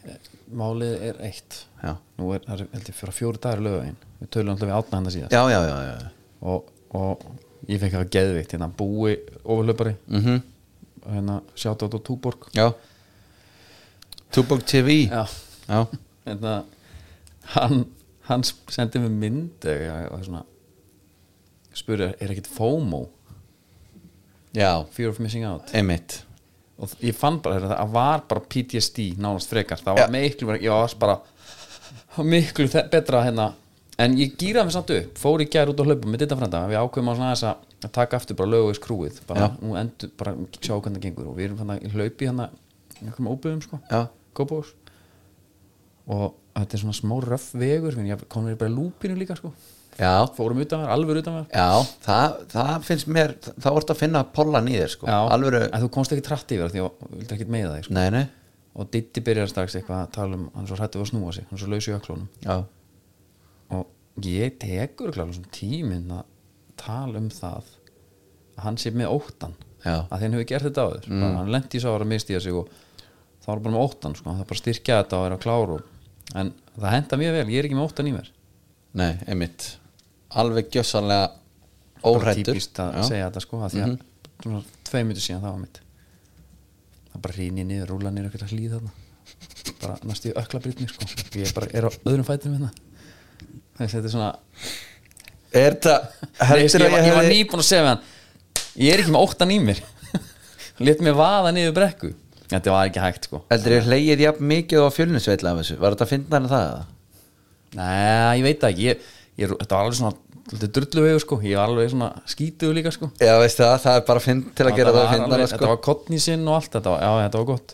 Speaker 1: Eh, Málið er eitt
Speaker 2: Já,
Speaker 1: Nú er, það er held ég, fyrir fjóri dagur lögavegin Við tölum alltaf við átna hann að síðast
Speaker 2: já, já, já, já.
Speaker 1: og, og ég fekk það geðvikt hérna búi ofurlöpari
Speaker 2: Mm
Speaker 1: hérna sjátt á Túborg
Speaker 2: já. Tuborg TV
Speaker 1: já,
Speaker 2: já.
Speaker 1: hérna hann, hann sendi mér mynd eða eitthvað svona spurði, er ekkit FOMO
Speaker 2: já,
Speaker 1: Fear of Missing Out
Speaker 2: einmitt
Speaker 1: og ég fann bara þetta, það var bara PTSD nánast frekar, það
Speaker 2: Já.
Speaker 1: var miklu ég var bara miklu þe- betra hérna en ég gýraði mig samt upp fór í gær út á hlaupum með þetta frænda við ákveðum á svona þess að taka aftur bara lögu í skrúið bara,
Speaker 2: Já.
Speaker 1: nú endur, bara sjá hvernig það gengur og við erum þannig í hlaupi hann að einhverjum óbyggum sko,
Speaker 2: Já.
Speaker 1: Kópavós og þetta er svona smá röff vegur finn ég kom við bara í lúpinu líka sko
Speaker 2: já,
Speaker 1: fórum utan þar, alveg utan þar
Speaker 2: já það, það finnst mér það voru að finna pollan í þér sko alvöru,
Speaker 1: en þú komst ekki trætt yfir það því að vildi ekki með það sko.
Speaker 2: nei, nei
Speaker 1: og Diddi byrjar strax eitthvað að tala um hann er svo hrættu að snúa sig, hann er svo laus í öklunum
Speaker 2: já,
Speaker 1: og ég tekur klálega svona tíminn að tala um það að hann sé með óttan
Speaker 2: Já.
Speaker 1: að þeim hefur gert þetta áður mm. bara, hann lendi í sára að misti sig og þá var bara með óttan sko, það er bara að styrkja þetta og er að klára og- en það henda mjög vel, ég er ekki með óttan í mér
Speaker 2: nei, einmitt alveg gjössanlega
Speaker 1: bara
Speaker 2: órættur
Speaker 1: típist að segja þetta sko að því
Speaker 2: Mhm.
Speaker 1: að svona tvei myndir síðan það var mitt það bara rýni niður, rúla niður eitthvað hlýð þarna bara næst í ökla brýtni sko ég bara er á öðrum fætinum hérna þess að þetta er svona
Speaker 2: er þetta
Speaker 1: Nei, ég, ég,
Speaker 2: heldur
Speaker 1: var-
Speaker 2: að
Speaker 1: ég var
Speaker 2: hefði-
Speaker 1: nýbúin að segja við hann ég er ekki með óttan í mér let mér vaða niður brekku þetta var ekki hægt sko
Speaker 2: Heldur ég hleyið jafn mikið á fjölnisveitla af þessu? Var þetta að finna hann það? eða?
Speaker 1: nei, ég veit það ekki ég, ég, þetta var alveg svona drullu vegur sko ég var alveg svona skítuðu líka sko
Speaker 2: Já, veistu það, það er bara finn, til að gera það að
Speaker 1: var
Speaker 2: finna
Speaker 1: alveg-
Speaker 2: hann
Speaker 1: þetta
Speaker 2: sko.
Speaker 1: var kottni sinn og allt þetta var, já, þetta var gott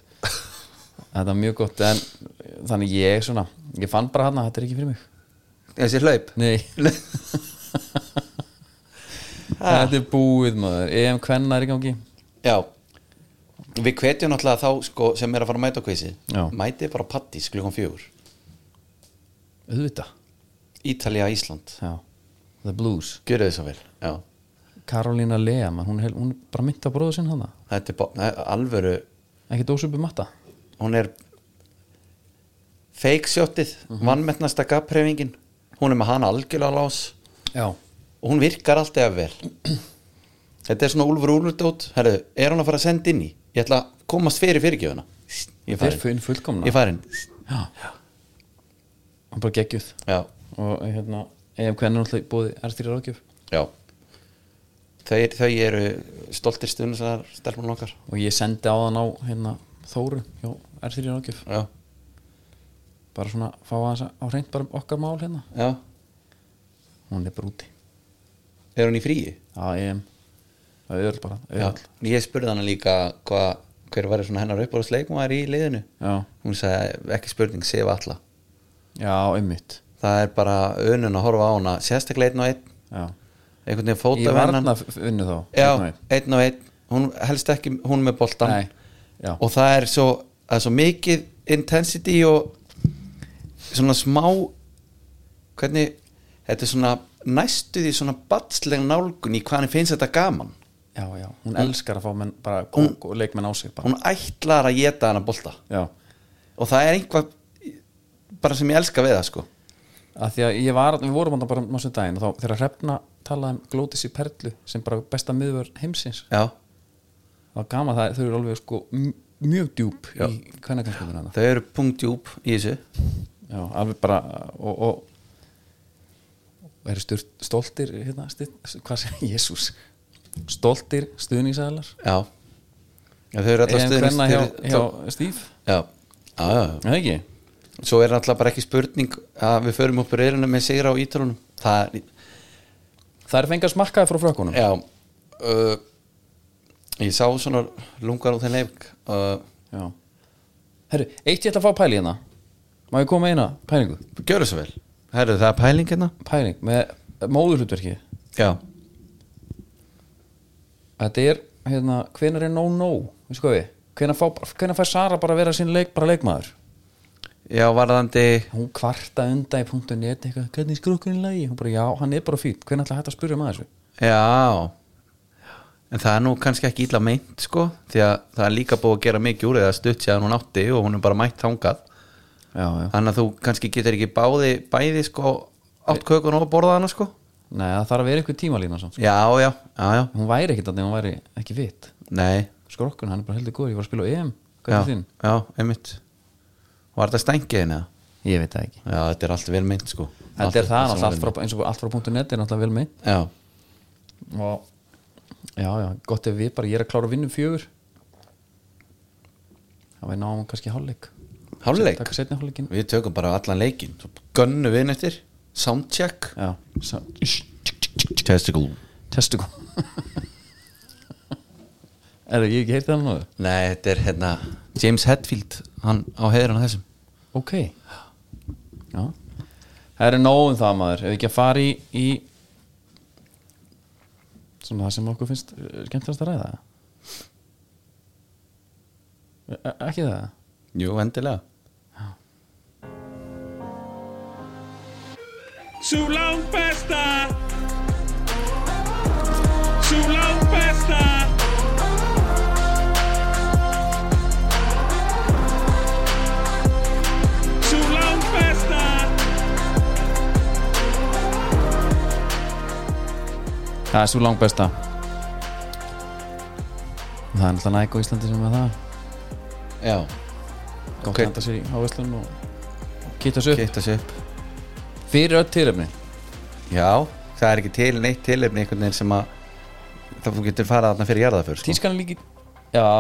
Speaker 1: þetta var mjög gott en þannig ég svona, ég fann bara hann að þetta er ekki fyrir mig
Speaker 2: Þessi hlaup
Speaker 1: nei þetta er búið maður EM kvenna er í gangi
Speaker 2: Já, við hvetjum náttúrulega þá sko, sem er að fara að mæta á kvísi
Speaker 1: Já.
Speaker 2: Mætið bara á pattis klukkan fjögur
Speaker 1: auðvitað,
Speaker 2: Ítalía, Ísland
Speaker 1: já, The Blues
Speaker 2: Gjörðu þið svo vel Já,
Speaker 1: Karolina Lea, man, hún, er heil- hún er bara mynda bróðu sinn hana,
Speaker 2: þetta er bara, nei, alvöru
Speaker 1: ekki dósupi matta
Speaker 2: Hún er fake shotið, vannmettnasta gappreyfingin Hún er með hana algjörlega á lás
Speaker 1: já,
Speaker 2: og hún virkar alltaf vel þetta er svona Úlfur Úlfurdótt herru, er hún að fara að senda inn í ég ætla að komast fyrir fyrirgjöfuna ég
Speaker 1: þeir
Speaker 2: farin,
Speaker 1: finn fullkomna
Speaker 2: ég farin
Speaker 1: já, hún bara geggjuð
Speaker 2: já,
Speaker 1: og hérna, EM kvenna er náttúrulega búið erstýri ráðgjöf
Speaker 2: já þau, þau eru stoltir stundar stelpunum okkar
Speaker 1: og ég sendi á þann á hérna, Þóru, já, R3 Rákjöf
Speaker 2: já,
Speaker 1: bara svona fá aðeins á hreint bara okkar mál hérna
Speaker 2: já,
Speaker 1: hún er bara úti
Speaker 2: er hún í fríi
Speaker 1: á EM, það er öll bara öll.
Speaker 2: ég spurði hana líka hva, hver var svona hennar uppáðsleikmaður í liðinu
Speaker 1: Já.
Speaker 2: hún sagði ekki spurning, sefa alla
Speaker 1: já, einmitt
Speaker 2: það er bara önun að horfa á hana sérstaklega einn og einn
Speaker 1: já.
Speaker 2: einhvern veginn
Speaker 1: í
Speaker 2: fóta
Speaker 1: varnafinnu þá
Speaker 2: Já,
Speaker 1: Nei.
Speaker 2: einn og einn hún helst ekki, hún með boltan
Speaker 1: Nei. Já.
Speaker 2: og það er svo, það er svo mikið intensity og svona smá hvernig, þetta er svona næstu því svona batsleg nálgun í hvað hann finnst þetta gaman
Speaker 1: já, já, hún elskar að fá menn bara hún,
Speaker 2: Hún-
Speaker 1: leikmenn á sig bara.
Speaker 2: hún ætlar að geta hann að bolta
Speaker 1: já,
Speaker 2: og það er einhvað bara sem ég elska við það sko
Speaker 1: að því að ég var við vorum hann bara mástu daginn og þá þegar hrefna talaði um glótis í perlu sem bara besta miðvör heimsins
Speaker 2: Já,
Speaker 1: það var gaman það, þau eru alveg sko m- mjög djúb já. í hvernig kannski
Speaker 2: þau eru punktjúb í þessu
Speaker 1: Já, alveg bara og, og, og eru styrt, stoltir hérna, styrt, hvað segir, jésús stoltir stuðningsæðlar
Speaker 2: Já, Já, þau eru alltaf
Speaker 1: en hvenna hjá,
Speaker 2: stuðnings-
Speaker 1: hjá Stíf
Speaker 2: Já, já, já, já.
Speaker 1: Nei, ekki,
Speaker 2: svo er alltaf bara ekki spurning að við förum upp reyðinu með sigra á ítalunum það er,
Speaker 1: það er fengast markaði frá frökkunum
Speaker 2: já uh, ég sá svona lungar á þeim leik uh,
Speaker 1: Já Herru, eitt ég ætla að fá pæli hérna Má ég koma með eina pælingu?
Speaker 2: gjörðu svo vel, herru það er pæling hérna
Speaker 1: Pæling með móðurhlutverki
Speaker 2: já,
Speaker 1: Þetta er, hérna, hvenær er no-no Við sko við, hvenær, fá, hvenær fær Sara bara að vera sín leik, bara leikmaður
Speaker 2: já varðandi
Speaker 1: hún kvarta undan í punktunni eitthvað, hvernig skrúkurinn lagi, hún bara já, hann er bara fýtt, hvernig ætla hægt að spyrja maður þessu
Speaker 2: já en það er nú kannski ekki illa meint sko, því að það er líka búið að gera mikið úr eða stutt séðan hún átti og hún er bara mætt þangað
Speaker 1: já, já.
Speaker 2: þannig að þú kannski getur ekki báði bæði sko, átt kökun og borða hana sko
Speaker 1: nei, það þarf að vera eitthvað tímalína samt, sko.
Speaker 2: já, já, já, já,
Speaker 1: hún væri ekkit þannig, hún væri ekki fýtt,
Speaker 2: nei
Speaker 1: skrokkun hann er bara heldur góður, ég var að spila á EM, hvað
Speaker 2: já,
Speaker 1: er þinn?
Speaker 2: já, einmitt Var þetta stængið hérna?
Speaker 1: ég veit það ekki,
Speaker 2: Já, þetta er allt vel meint sko
Speaker 1: þetta er það náttúrulega allt frá, eins og allt frá punktunni, er náttúrulega vel meint
Speaker 2: Já,
Speaker 1: og já, já, gott ef við bara, ég er að klára að vinna um fjögur það væri náum kannski hálfleik
Speaker 2: hálfleik
Speaker 1: takk setni hálfleikin,
Speaker 2: Við tökum bara allan leikin Svo gönnum við neftir soundcheck
Speaker 1: já Sá-
Speaker 2: testicle
Speaker 1: testicle er það ég hef ekki heyrti hann nú
Speaker 2: nei, þetta er hérna James Hetfield, hann á heiðran þessum
Speaker 1: ok já það er nóg um það maður ef við ekki að fara í, í svona það sem okkur finnst eh, skemmtilegast að ræða E- e- ekki það
Speaker 2: jú, endilega
Speaker 3: Sú lang besta Sú lang besta Sú lang besta
Speaker 1: það er svo langbesta það er náttúrulega næg á Íslandi sem er það
Speaker 2: já,
Speaker 1: gott
Speaker 2: Ok.
Speaker 1: að henda sér í hávæslun og kitta sér upp
Speaker 2: geta sér upp
Speaker 1: fyrir öll tilöfni
Speaker 2: já, það er ekki til neitt tilefni einhvern veginn sem að það þú getur farað þarna fyrir jarðaför sko.
Speaker 1: tískan er líki já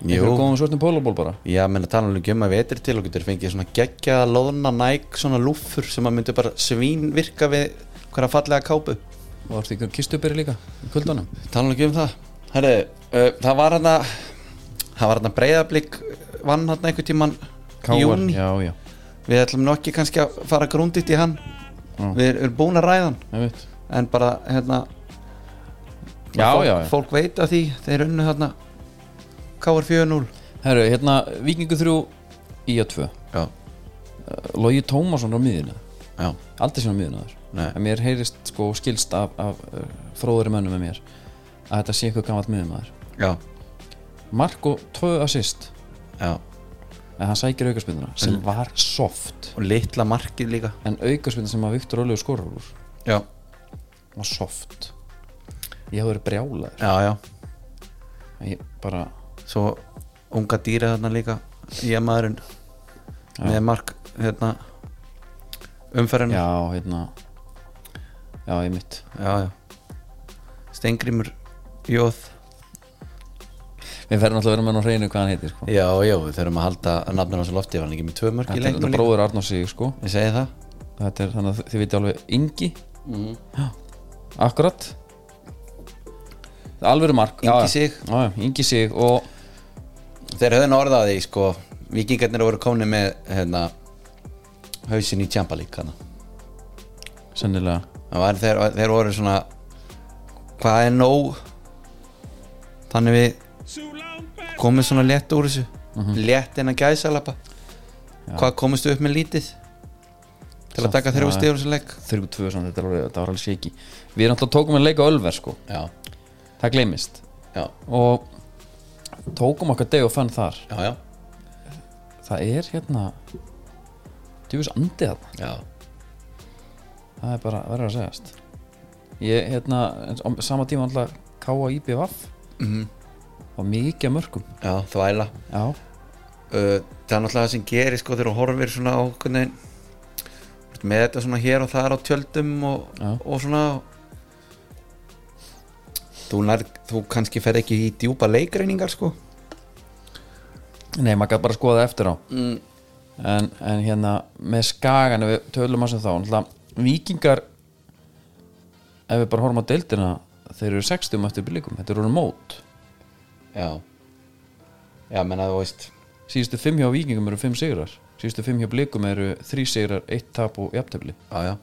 Speaker 1: einhverjum góðum svörtum pólaból bara
Speaker 2: Já, menn að tala um ekki um að vetur til og getur fengið svona geggja, loðna, næk svona lúfur sem að myndi bara svín virka við hverja fallega kápu
Speaker 1: og það er einhverjum kistuberi líka í kuldunum
Speaker 2: tala ekki um það Herri, uh, það var hann að það var hann að breyðablík vann hann einhvern tíman í júni
Speaker 1: já já
Speaker 2: við ætlum nú ekki kannski að fara grúndið í hann
Speaker 1: Já.
Speaker 2: við erum búin að ræða hann
Speaker 1: einmitt.
Speaker 2: en bara hérna
Speaker 1: Já,
Speaker 2: fólk,
Speaker 1: já, já.
Speaker 2: fólk veit að því þeir unnu hérna KR 4-0
Speaker 1: herru hérna vikingu 3 í að 2
Speaker 2: já,
Speaker 1: Logi Tómasson á miðina
Speaker 2: já,
Speaker 1: aldrei sem á miðina þar
Speaker 2: Nei.
Speaker 1: en mér heyrist sko og skilst af, af uh, fróðari mönnum með mér að þetta sé eitthvað gammalt miðumæður
Speaker 2: já,
Speaker 1: Marko 2 assist
Speaker 2: já.
Speaker 1: en hann sækir aukarspinduna sem var soft
Speaker 2: og litla markið líka
Speaker 1: en aukarspinduna sem að Viktor Ólegu skorur úr
Speaker 2: já,
Speaker 1: var soft ég hafði verið brjálaður
Speaker 2: já, já
Speaker 1: ég bara
Speaker 2: svo unga dýra þarna líka í að maðurinn með mark hérna, umferðinu já.
Speaker 1: já hérna já ég mitt
Speaker 2: Já, Steingrímur Jóð
Speaker 1: við verðum alltaf að vera með hann á hreinu hvað hann heitir sko.
Speaker 2: já, já, við þurfum að halda nafnir hans á lofti var hann ekki með tvö mörk í
Speaker 1: þetta er
Speaker 2: leiknum
Speaker 1: þetta
Speaker 2: líka?
Speaker 1: bróður Arnór sig sko.
Speaker 2: ég segi það
Speaker 1: þetta er þannig að þið viti alveg Ingi
Speaker 2: Mhm.
Speaker 1: já, akkurat alveg mark já,
Speaker 2: Ingi
Speaker 1: já.
Speaker 2: Sig.
Speaker 1: já, já, Ingi sig og
Speaker 2: þeir höfðu orðaði, sko vikingarnir voru komni með hérna, hausin í tjampalík hana
Speaker 1: sennilega
Speaker 2: Það var þeir, þeir voru svona hvað er nóg þannig við
Speaker 3: Sú lang besta
Speaker 2: komum svona létt úr þessu
Speaker 1: Mm. mhm.
Speaker 2: létt innan gæðsalapa hvað komist þú upp með lítið til að
Speaker 1: Samt,
Speaker 2: taka þrjú
Speaker 1: já.
Speaker 2: stíður þessu leik
Speaker 1: 3-2 samt, þetta, er alveg- þetta var alveg séki við erum alltaf tókum að leika Ölver sko.
Speaker 2: já,
Speaker 1: það gleymist
Speaker 2: já,
Speaker 1: og tókum okkar deg og fann þar
Speaker 2: já, já,
Speaker 1: það er hérna djúfis andið þarna
Speaker 2: já.
Speaker 1: það er bara verður að segjast ég hérna en á sama tíma alltaf K.A. IBVF
Speaker 2: Mhm.
Speaker 1: og mikið af mörgum
Speaker 2: já þvæla
Speaker 1: já,
Speaker 2: uh, það er náttúrulega það sem gerir sko þegar þú horfir svona á hvernig með þetta svona hér og þar á tjöldum og,
Speaker 1: Já.
Speaker 2: og svona þú, nær, þú kannski fer ekki í djúpa leikreiningar sko
Speaker 1: nei maður gæti bara að skoða eftir á
Speaker 2: mm.
Speaker 1: en, en hérna með skagan ef við tölum að sem þá alltaf vikingar ef við bara horfum á deildina þeir eru 60 eftir bygglikum, þetta eru orðin mót
Speaker 2: já já, menna þú veist
Speaker 1: síðustu 5 hjá vikingum eru 5 sigrar síðustu 5 hjá blikum eru 3 sigrar 1 tap og jafntefli
Speaker 2: já, já já,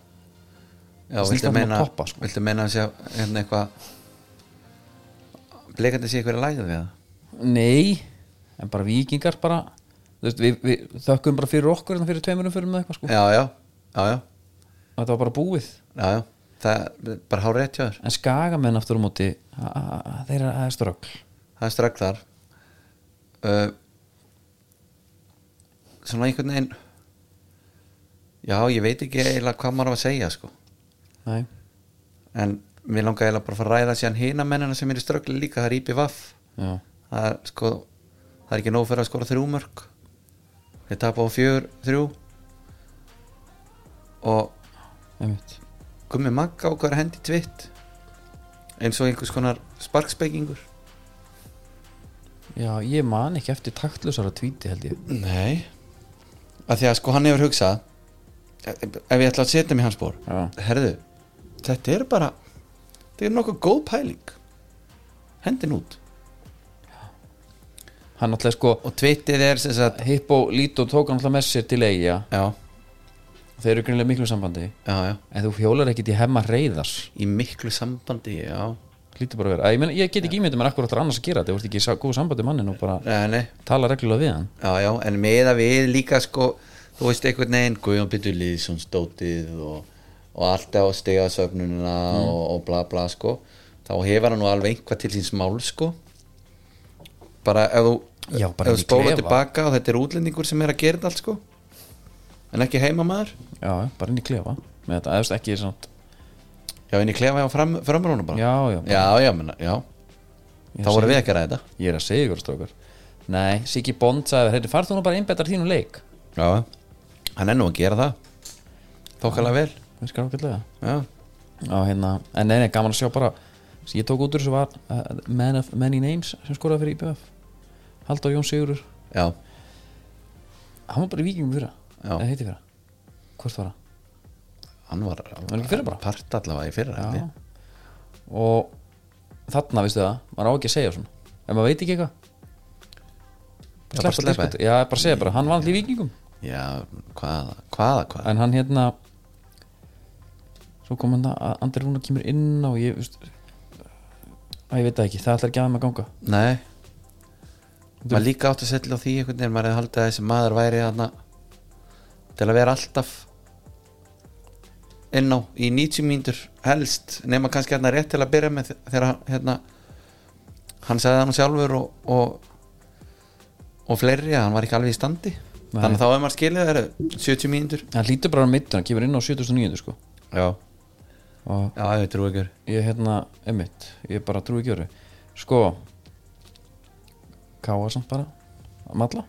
Speaker 1: Það snýst allt
Speaker 2: viltu
Speaker 1: um að
Speaker 2: meina,
Speaker 1: toppa, sko.
Speaker 2: viltu meina að sé hérna eitthvað blikandi sé eitthvað lægð við það
Speaker 1: Nei, en bara vikingar bara þú veist, við, við þökkum bara fyrir okkur en fyrir tveimurum fyrir með eitthvað sko
Speaker 2: já, já, já, já,
Speaker 1: þetta var bara búið
Speaker 2: já, já það er bara hár rétt hjá þér,
Speaker 1: en skagamenn aftur á móti a- a- a- þeir eru aðeins strögg
Speaker 2: það er strax þar uh, svona einhvern veginn já, ég veit ekki eiginlega hvað maður á að segja sko,
Speaker 1: Nei,
Speaker 2: en mér langar eiginlega bara að fara að ræða síðan hina mennina sem eru ströggli líka, það er Íbi Vaff
Speaker 1: já,
Speaker 2: það er sko það er ekki nóg fyrir að skora þrjú mörg við tapa á fjör þrjú og
Speaker 1: einmitt
Speaker 2: gummi magga á hverja hendi tvitt eins og einhvers konar sparkspekingur
Speaker 1: Já, ég man ekki eftir taktlausara tvíti held ég
Speaker 2: nei að því að sko hann hefur hugsað ef ég ætla að setja mig í hans bór
Speaker 1: Já.
Speaker 2: herðu, þetta er bara þetta er nokkuð góð pæling hendin út
Speaker 1: hann náttúrulega sko
Speaker 2: og tvitið er sem sagt
Speaker 1: Hippo Lito tók hann alltaf með sér til eiga
Speaker 2: já,
Speaker 1: þeir eru grunlega miklu sambandi
Speaker 2: já, já,
Speaker 1: en þú hjólar ekkit í hemma reyðars
Speaker 2: í miklu sambandi já,
Speaker 1: lítur bara að vera, að ég, meina, ég get ekki ímyndið mér akkur áttur annars að gera þetta, þú ert ekki í sá- góðu sambandi við mannin og bara
Speaker 2: nei, nei
Speaker 1: tala reglulega við hann
Speaker 2: já, já, en meða við líka sko þú veist einhvern veginn Guðjón Bittur Lýðsson stótið og, og alltaf á stegasöfnunina
Speaker 1: Mm.
Speaker 2: og, og bla bla sko þá hefur hann nú alveg einhvað til síns mál sko bara ef þú
Speaker 1: Já, bara
Speaker 2: ef
Speaker 1: í
Speaker 2: þú spóla
Speaker 1: klefa.
Speaker 2: tilbaka og þetta er útlendingur sem er að gera þetta allt sko en ekki heimamaður
Speaker 1: já, bara inn í klefa með þetta, eða þú veist, ekki svona
Speaker 2: já, en ég klefa hjá fram, framrúnum bara
Speaker 1: já, já,
Speaker 2: já, já, menna, já
Speaker 1: Ég
Speaker 2: þá voru
Speaker 1: segi-
Speaker 2: við ekki að ræða þetta.
Speaker 1: ég er að segja ykkur strókar nei, Siggi Bond sagði, heyrðu, farð þú nú bara einbettar þínum leik
Speaker 2: já, hann er nú að gera það þókala vel
Speaker 1: virkar ákveðlega
Speaker 2: já,
Speaker 1: á hérna, en nei, nei, gaman að sjá bara sem ég tók út úr þessu var uh, Man of Many Names sem skoraði fyrir IBF Halldór Jón Sigurur,
Speaker 2: já,
Speaker 1: hann var bara í vikingum fyrra
Speaker 2: Já.
Speaker 1: eða heiti fyrra, hvort var það
Speaker 2: hann var,
Speaker 1: var ekki í fyrra bara?
Speaker 2: part allavega í fyrra held ég.
Speaker 1: og þarna, veistu það, maður á ekki að segja svona ef maður veit ekki eitthvað
Speaker 2: Já, bara sleppa
Speaker 1: því. já, bara segja bara, hann var alltaf í vikingum
Speaker 2: Já, hvaða, hvaða, hvaða
Speaker 1: en hann hérna svo kom hann að Andri Rúna kemur inn og ég veist, að ég veit það ekki, það ætlar ekki að maður ganga
Speaker 2: Nei Maður líka átt að setja á því einhvern veginn maður hefði haldið að þessi maður væri þarna til að vera alltaf inn á í 90 mínútur helst nema kannski hérna rétt til að byrja með þe- þegar hann, hérna hann sagði hann sjálfur og og, og fleiri að hann var ekki alveg í standi
Speaker 1: Nei.
Speaker 2: þannig að þá er maður skilið þeirra 70 mínútur
Speaker 1: hann lítur bara á mittun, hann kemur inn á 79 sko.
Speaker 2: Já,
Speaker 1: og
Speaker 2: já, ég trú ekki
Speaker 1: ég hérna, emitt ég bara trúi ekki öru sko káa samt bara að matla,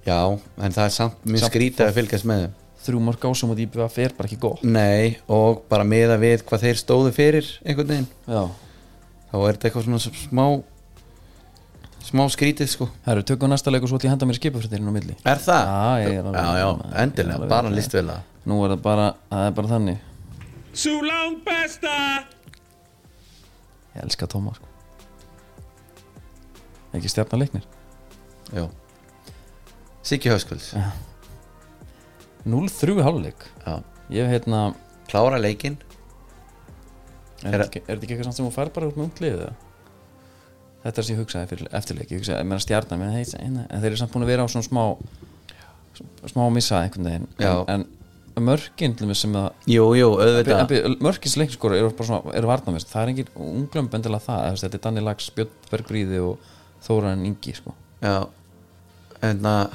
Speaker 2: Já, en það er samt mjög
Speaker 1: Samt-
Speaker 2: skrítið að fylgjast með þeim
Speaker 1: þrjú mörg ásum út í BVF er bara ekki gott
Speaker 2: Nei, og bara meða við hvað þeir stóðu fyrir einhvern veginn
Speaker 1: já,
Speaker 2: þá er þetta eitthvað svona smá smá skrítið sko
Speaker 1: herru, tökum næsta leik og svo ætlum ég að henda mér skipafréttir inn á milli
Speaker 2: Er það?
Speaker 1: Já, ég er alveg-
Speaker 2: já, já, endilega,
Speaker 1: ég er alveg-
Speaker 2: bara listvel að
Speaker 1: nú er það bara, það er bara þannig
Speaker 3: Sulão Pesta!
Speaker 1: ég elska Tóma sko. ekki stjarnar leiknir
Speaker 2: Já Siggi Hauskvöld
Speaker 1: 0-3 háluleik
Speaker 2: Já,
Speaker 1: ég hef hérna
Speaker 2: klára leikinn
Speaker 1: er,
Speaker 2: Er-
Speaker 1: er, ekki, er þetta ekki eitthvað samt sem hún fær bara út með unglið þetta er sem ég hugsaði fyrir eftirleik ég hugsaði, ég meina stjarnar menn, hey, en þeir eru samt búin að vera á svona smá smá missa einhvern veginn
Speaker 2: Já.
Speaker 1: en, en mörkin til dæmis sem að
Speaker 2: Jú, jú,
Speaker 1: En
Speaker 2: auðvitað
Speaker 1: byrju, mörkins leikskóra eru bara svona eru varnamist, það er engin unglömb endilega það eða þú veist, þetta er Danni Lags, Björn Bergríði og Þóran Ingi sko.
Speaker 2: Já, en að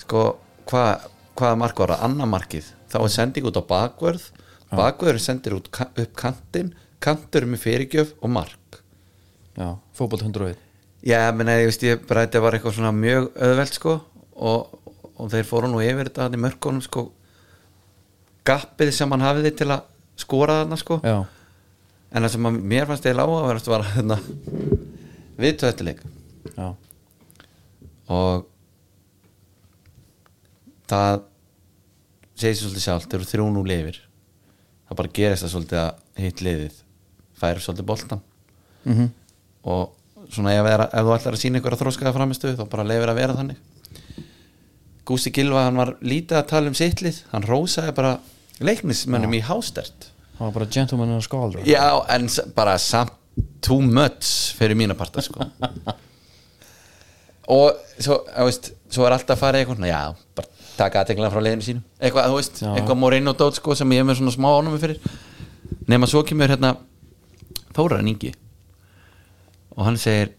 Speaker 2: sko, hvað hvaða mark var það? Anna markið þá er sending út á bakvörð bakvörður sendir út ka- upp kantinn kantur með fyrirgjöf og mark
Speaker 1: já, fótbolt 101
Speaker 2: Já, menn að ég veist ég bara þetta var eitthvað svona mjög öðvelt sko og, og þeir fóru nú yfir þetta hann í mörkunum sko gappið sem hann hafiði til að skora þarna sko
Speaker 1: já,
Speaker 2: en það sem að mér fannst eða lága var að hérna, vera þarna við tvættileik
Speaker 1: já,
Speaker 2: og það segir sér svolítið sjálft þeir eru þrjún úr lifir það bara gerist það svolítið að hitt liðið færi svolítið boltan
Speaker 1: Mhm.
Speaker 2: og svona ef, er, ef þú ætlar að sína einhverja þróskaða framistu þá bara leifir að vera þannig Gústi Gilva hann var lítið að tala um sittlið hann rósaði bara leiknismönnum í hástert
Speaker 1: það var bara gentleman in a scholar
Speaker 2: já en s- bara samt too much fyrir mína parta sko og svo, þú veist, svo er alltaf að fara eitthvað, svona, já, bara taka aðteklega frá leiðinu sínum, eitthvað, þú veist,
Speaker 1: Já.
Speaker 2: eitthvað Moreno dót sko sem ég er með svona smá ánum fyrir nema svo kemur hérna Þóran Ingi og hann segir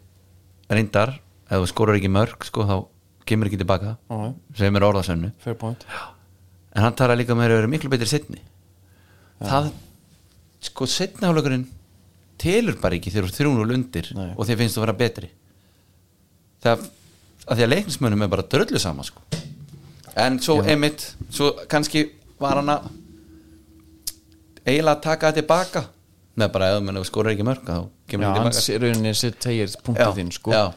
Speaker 2: reyndar, ef þú skorar ekki mörg sko, þá kemur ekki tilbaka
Speaker 1: Já.
Speaker 2: segir mér orðasönnu
Speaker 1: fair point
Speaker 2: en hann talar líka um að þeir eru miklu betri setni það sko setni áleikurinn telur bara ekki þegar þú þrjún og lundir
Speaker 1: Nei.
Speaker 2: og þeir finnst þú að vera betri það að því að leiknismönnum er bara dröllu sama sko. en svo emitt svo kannski var hann að eiginlega að taka það tilbaka neða bara eða menn skóra ekki mörg þá
Speaker 1: já,
Speaker 2: kemur ekki
Speaker 1: hans
Speaker 2: tilbaka
Speaker 1: í rauninni sitt tegir punktið þinn sko
Speaker 2: já,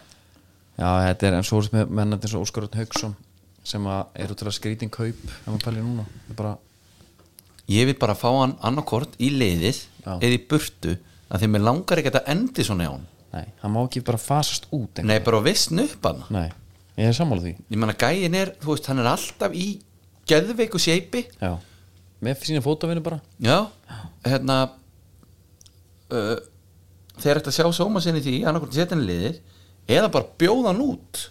Speaker 1: já, þetta er en svo er með mennandi eins og Óskar Örn Hauksson sem að eru til að skrýting kaup ef maður pælir núna Það er bara,
Speaker 2: ég vil bara fá hann annarkort í leiðið
Speaker 1: Já.
Speaker 2: eða í burtu að því mér langar ekki að þetta endi svona hjá hann
Speaker 1: nei, hann má ekki bara fasast út
Speaker 2: nei, bara vissn upp hann
Speaker 1: nei, ég er sammála því
Speaker 2: ég meina gæin er, þú veist, hann er alltaf í geðveiku seipi
Speaker 1: Já, með sína fótavinu bara
Speaker 2: já, hérna uh, þeir ætti að sjá sóma sinni í því annarkort setja hann í leiðið eða bara bjóða hann út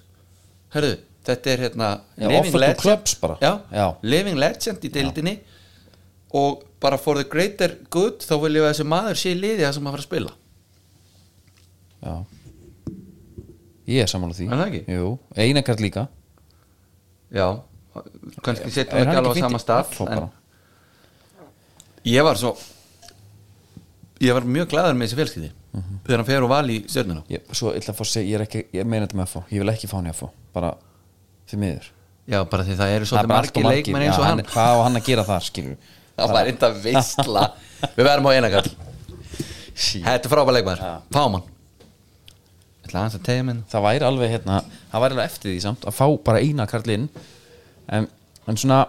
Speaker 2: herðu, þetta er hérna
Speaker 1: Já, offer to clubs bara.
Speaker 2: já,
Speaker 1: Já.
Speaker 2: living legend í deildinni og bara for the greater good þá vil ég að þessi maður sé í liði það sem maður fara að spila
Speaker 1: Já Ég er sammála því
Speaker 2: Er það ekki?
Speaker 1: Jú, einakart líka
Speaker 2: Já, kannski setjum
Speaker 1: Er hann
Speaker 2: við ekki alveg á
Speaker 1: ekki fínt
Speaker 2: sama
Speaker 1: í-
Speaker 2: stað
Speaker 1: Svo
Speaker 2: en
Speaker 1: bara.
Speaker 2: ég var svo ég var mjög glæður með þessi fjölskyldi þegar hann fer og val í stjörnuna
Speaker 1: ég, Svo ég ætla að fá að segja, ég er ekki Ég meina þetta með að fá, ég vil ekki fá hann í að fá Bara því miður
Speaker 2: Já, bara því það
Speaker 1: Það
Speaker 2: eru
Speaker 1: er
Speaker 2: svolítið
Speaker 1: bara allt
Speaker 2: margir
Speaker 1: of
Speaker 2: leikmenn eins
Speaker 1: Já,
Speaker 2: og hann
Speaker 1: er- Hvað á hann að gera þar, skilur
Speaker 2: Það var enda veistla Við verðum á einakall Þetta er frábæð leikmenn, fáum hann Ég ætla aðeins að tegja minn
Speaker 1: Það væri alveg hérna Það væri alveg eftir því samt Að fá bara eina karlinn en, en svona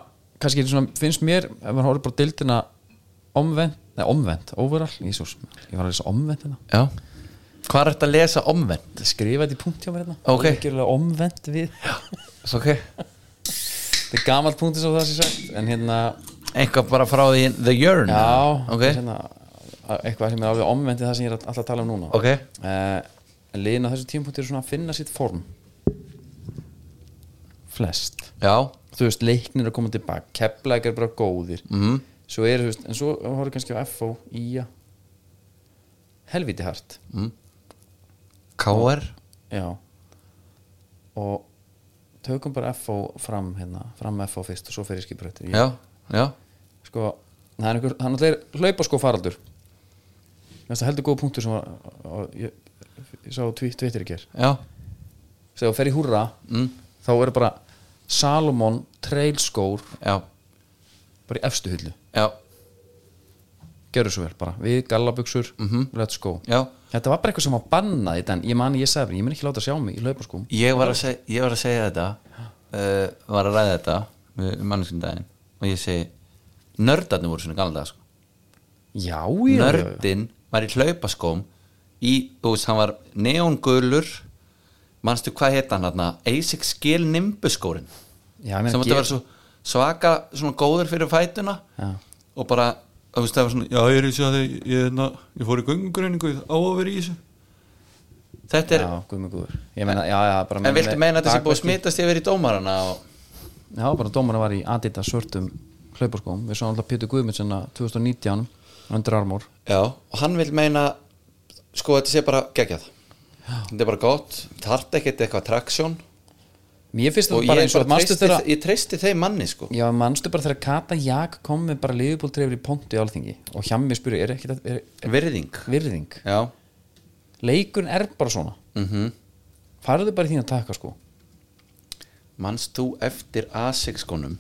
Speaker 1: Kannski svona, finnst mér Ef maður horfir bara á deildina Omvend Nei, omvend Overall Jísús Ég var að lesa omvend hérna
Speaker 2: Já, hvað er þetta að lesa omvenn?
Speaker 1: Skrifa þetta í punkt hjá mér hérna
Speaker 2: Ok.
Speaker 1: Ég er ekki alveg omvend við
Speaker 2: Svo ok,
Speaker 1: Þetta er gamalt punkt eins og það sé sagt En hérna
Speaker 2: eitthvað bara frá því The Yearn
Speaker 1: Já,
Speaker 2: ok,
Speaker 1: hérna, eitthvað sem er alveg omvendið það sem ég er alltaf að tala um núna
Speaker 2: ok
Speaker 1: uh, Liðin á þessu tímapunkti er svona að finna sitt form Flest
Speaker 2: Já,
Speaker 1: Þú veist, leiknir að koma tilbaka Keflæk er bara góðir
Speaker 2: mhm
Speaker 1: Svo er, þú veist, en svo horfðu kannski á FO, IA Helviti hart
Speaker 2: K.R.
Speaker 1: Já Og tökum bara FO fram hérna Fram FO fyrst og svo fer ég skiprættir
Speaker 2: Já, já
Speaker 1: sko, það er einhver, hann allir hlaupa sko faraldur það heldur góð punktur sem var á- ég, ég sá á tví- Twitter í ger
Speaker 2: Já,
Speaker 1: þegar þú fer í húrra
Speaker 2: mm,
Speaker 1: þá er bara Salomon trailskór
Speaker 2: já,
Speaker 1: bara í efstu hullu,
Speaker 2: já,
Speaker 1: gerðu svo vel bara við gallabuxur, let's go
Speaker 2: já
Speaker 1: þetta var bara eitthvað sem var bannað í den ég mani, ég sagði, bara, ég mun ekki láta sjá mig í hlaupaskóm
Speaker 2: Ég var að segja, ég var að segja þetta uh, Var að ræða þetta Með mannskjum um daginn Og ég segi, nördarnir voru svona galda sko.
Speaker 1: já, já, já, já.
Speaker 2: Nördin var í hlaupaskóm Í, þú veist, hann var neongulur Manstu hvað hétt hann hann Asics Gil Nimbuskórin
Speaker 1: já ég meina,
Speaker 2: Sem átti að
Speaker 1: ég-
Speaker 2: vera svo svaka Svona góður fyrir fætuna
Speaker 1: já,
Speaker 2: Og bara, þú veist, það var svona Já, ég er í þessu að ég, ég, ég, ég fór í göngugröningu Á að vera í þessu Þetta er,
Speaker 1: já, guð mig góður ég meina, já, já, bara
Speaker 2: En viltu meina að þetta sé búið að
Speaker 1: dagverki.
Speaker 2: smitast yfir í dómarana og...
Speaker 1: Já, bara dómarna var í Adidas svörtum hlauparskóm Við sáum alltaf Pétur Guðmundsson 2019 undir armór
Speaker 2: Já, og hann vil meina sko þetta sé bara geggjað þetta er bara gott, þarf ekkert eitthvað traksjón
Speaker 1: Mér finnst
Speaker 2: og
Speaker 1: þetta bara
Speaker 2: ég, bara
Speaker 1: eins og manstu
Speaker 2: treysti,
Speaker 1: þeirra
Speaker 2: ég treysti þeim manni sko
Speaker 1: Já, manstu bara þegar Kata Jak kom með bara liðbóltrefur í pontu í alþingi og hjá mér spyrir, er ekki þetta er-
Speaker 2: virðing
Speaker 1: er virðing?
Speaker 2: Já,
Speaker 1: Leikurinn er bara svona
Speaker 2: mm
Speaker 1: Farðu bara í þín að taka sko
Speaker 2: manst þú eftir A6 konum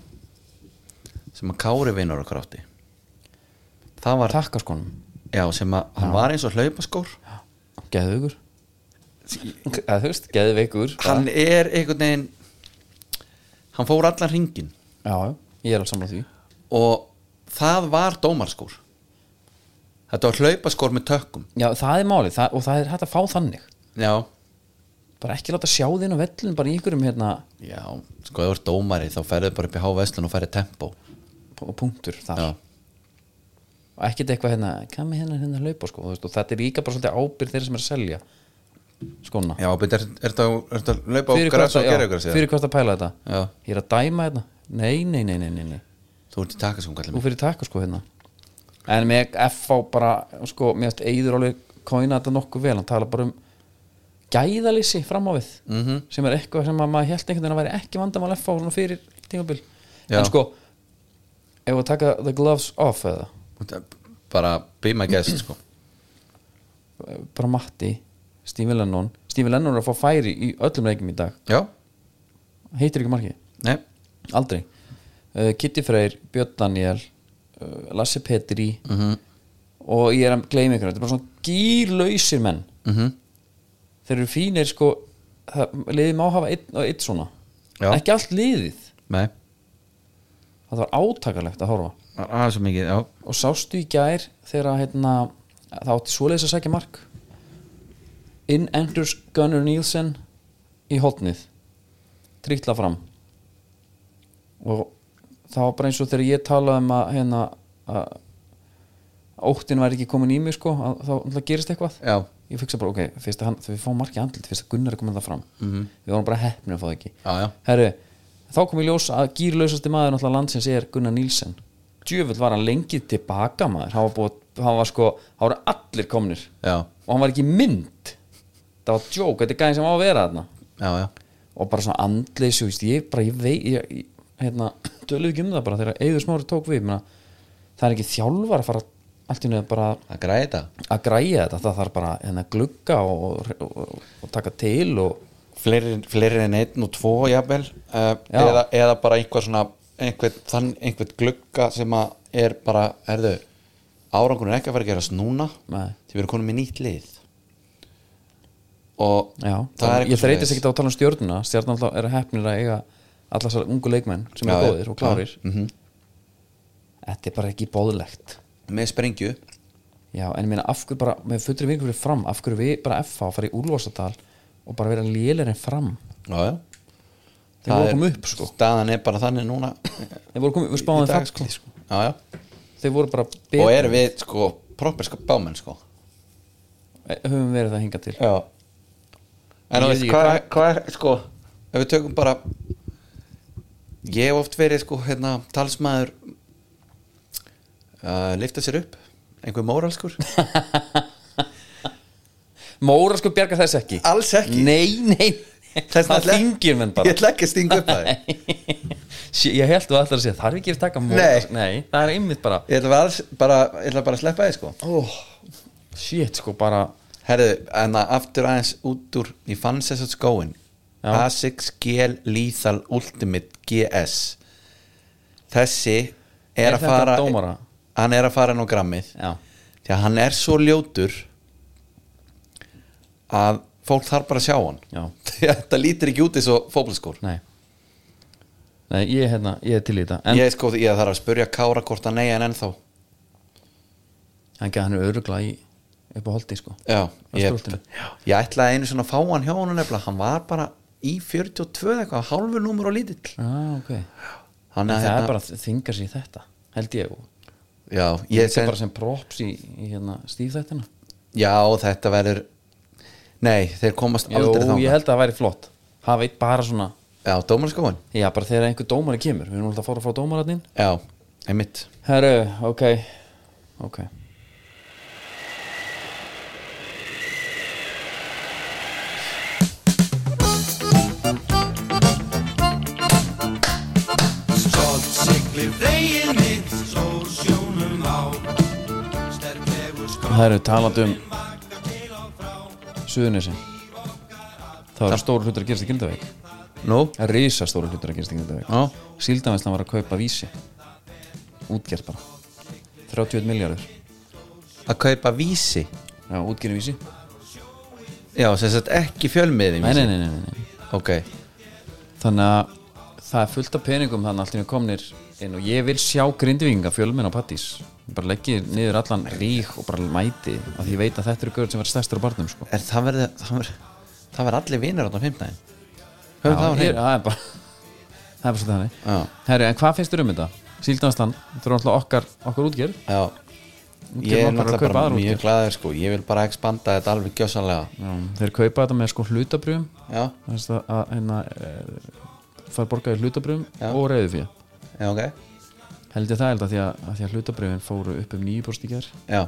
Speaker 2: sem að Kári vinur okkur átti það var,
Speaker 1: Takka sko, skonum,
Speaker 2: já sem að hann var eins og hlaupaskór
Speaker 1: geðveikur Eða þú veist, geðveikur bara.
Speaker 2: hann er einhvern veginn hann fór allan ringin
Speaker 1: Já, já, ég er alveg samla því
Speaker 2: og það var dómarskór þetta var hlaupaskór með tökkum
Speaker 1: Já, það er málið það, og það er hægt að fá þannig
Speaker 2: já,
Speaker 1: bara ekki láta sjá þín á vellin bara í ykkurum hérna
Speaker 2: já, sko ef þú ert dómari þá ferðu bara upp í háveslun og ferðu tempo
Speaker 1: p- punktur þar
Speaker 2: já,
Speaker 1: og ekkert eitthvað hérna, hvað með hérna hérna laupa sko, þú veist, og þetta er líka bara svolítið ábyrð þeirra sem er að selja skona
Speaker 2: já betur, er, er, er, er þetta að laupa á græs og gera ykkur
Speaker 1: já, fyrir hvort að pæla þetta
Speaker 2: Já.
Speaker 1: ég er að dæma hérna, nei, nei, nei, nei, nei, nei.
Speaker 2: þú ert í takaskum kallið
Speaker 1: þú
Speaker 2: mér
Speaker 1: fyrir takka sko hérna en með F á bara, sko, mér veist eigður alveg kóina þetta nokkuð vel hann tala bara um gæðalýsi fram á við
Speaker 2: Mhm.
Speaker 1: -hmm. sem er eitthvað sem að maður held einhvern veginn að væri ekki vandamál F á svona fyrir tímabil
Speaker 2: Já.
Speaker 1: en sko, ef að taka the gloves off eða
Speaker 2: Þú ert bara be my guest sko
Speaker 1: bara Matti, Stephen Lennon Stephen Lennon er að fá færi í öllum leikjum í dag
Speaker 2: já,
Speaker 1: heitir ekki markið,
Speaker 2: nei,
Speaker 1: aldrei uh, Kitty Freyr, Björn Daniel uh, Lasse Petri
Speaker 2: Mhm,
Speaker 1: -hmm. og ég er að gleyma ykkur þetta er bara svona gýrlausir menn
Speaker 2: mhm
Speaker 1: þeir eru fínir sko það- liðið má hafa einn og einn svona
Speaker 2: Já.
Speaker 1: ekki allt liðið
Speaker 2: nei,
Speaker 1: það var átakalegt að horfa
Speaker 2: það var aðeins svo mikið já,
Speaker 1: og sástu í gær þegar að, hérna, það átti svoleiðis að sækja mark inn Anders Gunnar Nielsen í hotnið trítla fram og það var bara eins og þegar ég talaði um að, hérna, að óttin var ekki komin í mig sko, að, þá náttúrulega gerist eitthvað
Speaker 2: já,
Speaker 1: ég fiksa bara, ok, fyrst að hann, þegar við fáum markið andlit fyrst að Gunnar er komin það fram -hmm. við vorum bara heppnir að fá það ekki
Speaker 2: já, já.
Speaker 1: Herru, þá kom í ljós að gýrlausasti maður náttúrulega landsins er Gunnar Nílsen djöfull var hann lengið tilbaka maður hann var, búið, hann var sko, hann var allir komnir
Speaker 2: Já.
Speaker 1: og hann var ekki mynd það var djók, þetta er gæðin sem á að vera þarna
Speaker 2: já, já,
Speaker 1: og bara svona andleysi, þú veist, ég bara, ég vei ég, ég, hérna, töluðu ekki um það bara þegar Eyður Smári tók við, ég meina það er ekki þjálfar að fara allt í nöðu bara
Speaker 2: að græði þetta
Speaker 1: að græja þetta, það þarf bara hérna, glugga og, og, og, og taka til og
Speaker 2: fleiri, fleiri en einn og tvo jafnvel uh,
Speaker 1: Já.
Speaker 2: eða, eða bara einhver svona einhvern, þann, einhvern glugga sem að er bara, herðu árangur er ekki að fara að gerast núna
Speaker 1: Nei.
Speaker 2: því við erum konum með nýtt lið og
Speaker 1: Já,
Speaker 2: það er
Speaker 1: ég
Speaker 2: eitthvað
Speaker 1: þreytist
Speaker 2: svoleiðis.
Speaker 1: ekkert á að tala um stjórnuna stjórnuna alltaf er hefnir að eiga allar þessar ungu leikmenn sem
Speaker 2: Já,
Speaker 1: er
Speaker 2: já.
Speaker 1: góðir og klárir
Speaker 2: Já, mhm.
Speaker 1: Þetta er bara ekki bóðlegt
Speaker 2: með sprengju
Speaker 1: Já, en ég meina af hverju bara, með fullri vingur fyrir fram af hverju við bara FH fara í úlvastatal og bara vera lélir en fram
Speaker 2: já, já.
Speaker 1: Þeir voru að koma upp, sko.
Speaker 2: staðan er bara þannig núna
Speaker 1: Þeir voru komið, við spáðum
Speaker 2: dag,
Speaker 1: það sko.
Speaker 2: já, já.
Speaker 1: Þeir voru bara
Speaker 2: og erum við sko proper sko bámenn sko
Speaker 1: Eh, höfum verið það hingað til
Speaker 2: já en þú
Speaker 1: Ég veit
Speaker 2: veist
Speaker 1: ekki
Speaker 2: hvað er- hvað er sko ef við tökum bara ég hef oft verið sko hérna talsmaður uh, lifta sér upp einhver móralskur
Speaker 1: Móra sko bjarga þess ekki
Speaker 2: alls ekki
Speaker 1: Nei, nei,
Speaker 2: Þess
Speaker 1: það
Speaker 2: vegna-
Speaker 1: þingir menn
Speaker 2: ég
Speaker 1: bara
Speaker 2: ætla ekki að stinga upp að það
Speaker 1: Sí, Ég held þú allar að segja, þarf ekki að taka móra
Speaker 2: Nei.
Speaker 1: nei, það er einmitt bara
Speaker 2: ég ætla bara, alls- bara, ég ætla bara að sleppa þið sko
Speaker 1: oh, shit sko bara
Speaker 2: Herðu, en að aftur aðeins út úr ég fann þess að skóin
Speaker 1: Já.
Speaker 2: Asics GL Lethal Ultimate GS þessi er,
Speaker 1: Er
Speaker 2: að
Speaker 1: þetta
Speaker 2: fara
Speaker 1: dómara?
Speaker 2: hann er að fara inn á grammið
Speaker 1: Já.
Speaker 2: því að hann er svo ljótur að fólk þarf bara að sjá hann
Speaker 1: Já.
Speaker 2: því að þetta lítir ekki út eins og fótbolskór
Speaker 1: nei nei, ég, hérna, ég er til í þetta en
Speaker 2: ég, sko, ég þarf að spurja Kára hvort að neyja en ennþá
Speaker 1: hann gæði hann örugla í upp á holdi sko
Speaker 2: Já,
Speaker 1: Á
Speaker 2: ég,
Speaker 1: stóltinu.
Speaker 2: já, ég ætlaði einu svona að fá hann hjá hann nefnilega hann var bara í 42 eitthvað hálfu númur og lítill
Speaker 1: ah, okay.
Speaker 2: Hann hérna-
Speaker 1: það er bara að þinga sér í þetta held ég og
Speaker 2: Já,
Speaker 1: ég
Speaker 2: ég
Speaker 1: sem...
Speaker 2: sen,
Speaker 1: bara sem props í, í hérna, stífþættina
Speaker 2: já þetta verður Nei, þeir komast
Speaker 1: Jú,
Speaker 2: aldrei þá
Speaker 1: ég held að það væri flott hafa eitt bara svona
Speaker 2: Já, dómarskóin
Speaker 1: já, bara þegar einhver dómari kemur við erum alltaf að fara frá dómaratnin
Speaker 2: Já, einmitt
Speaker 1: herru, ok ok
Speaker 4: Stolt siglir veginn mitt, sól sjónum á Sterk hefur skrá,
Speaker 1: herru, talandi um
Speaker 4: vaka til og frá
Speaker 1: suðunisinn það eru stóru hlutur að gerast í Grindavík
Speaker 2: Nú,
Speaker 1: Það er risastóru hlutur að gerast í Grindavík
Speaker 2: já,
Speaker 1: Síldanvæslan var að kaupa vísi Útgerð bara 31 miljardur
Speaker 2: að kaupa vísi
Speaker 1: Já, útgerði vísi
Speaker 2: Já, sem sagt ekki fjölmiði
Speaker 1: nei nei, nei, nei, nei, nei
Speaker 2: Ok,
Speaker 1: Þannig að það er fullt af peningum þannig allt í einu komnir inn og ég vil sjá grindivíkinga fjölmenn á pattís bara leggi niður allan rík og bara mæti af því ég veit að þetta eru gaur sem verður stærstur á barnum sko.
Speaker 2: er það verður Það verður það verður allir vinir á fimmtæðin
Speaker 1: Já,
Speaker 2: Höfum það á
Speaker 1: ég-
Speaker 2: hreinu
Speaker 1: það er bara það er bara svo þannig
Speaker 2: Já.
Speaker 1: Herri, en hvað finnst þér um þetta? Síldanvæslan, þú eru alltaf okkar, okkar útgerð
Speaker 2: Já,
Speaker 1: okkar
Speaker 2: ég er
Speaker 1: að
Speaker 2: náttúrulega
Speaker 1: kaupa
Speaker 2: bara
Speaker 1: aðra
Speaker 2: mjög
Speaker 1: útgerð.
Speaker 2: glæður sko Ég vil bara expanda þetta alveg gjössanlega
Speaker 1: Já, þeir kaupa þetta með sko hlutabrjum
Speaker 2: Já,
Speaker 1: Þannig að, að hérna, e, fær borgaði hlutabröfum og reyðu fyrir
Speaker 2: já, ok
Speaker 1: held ég það held að því að, að, því að hlutabröfin fóru upp um nýju í gær
Speaker 2: Já,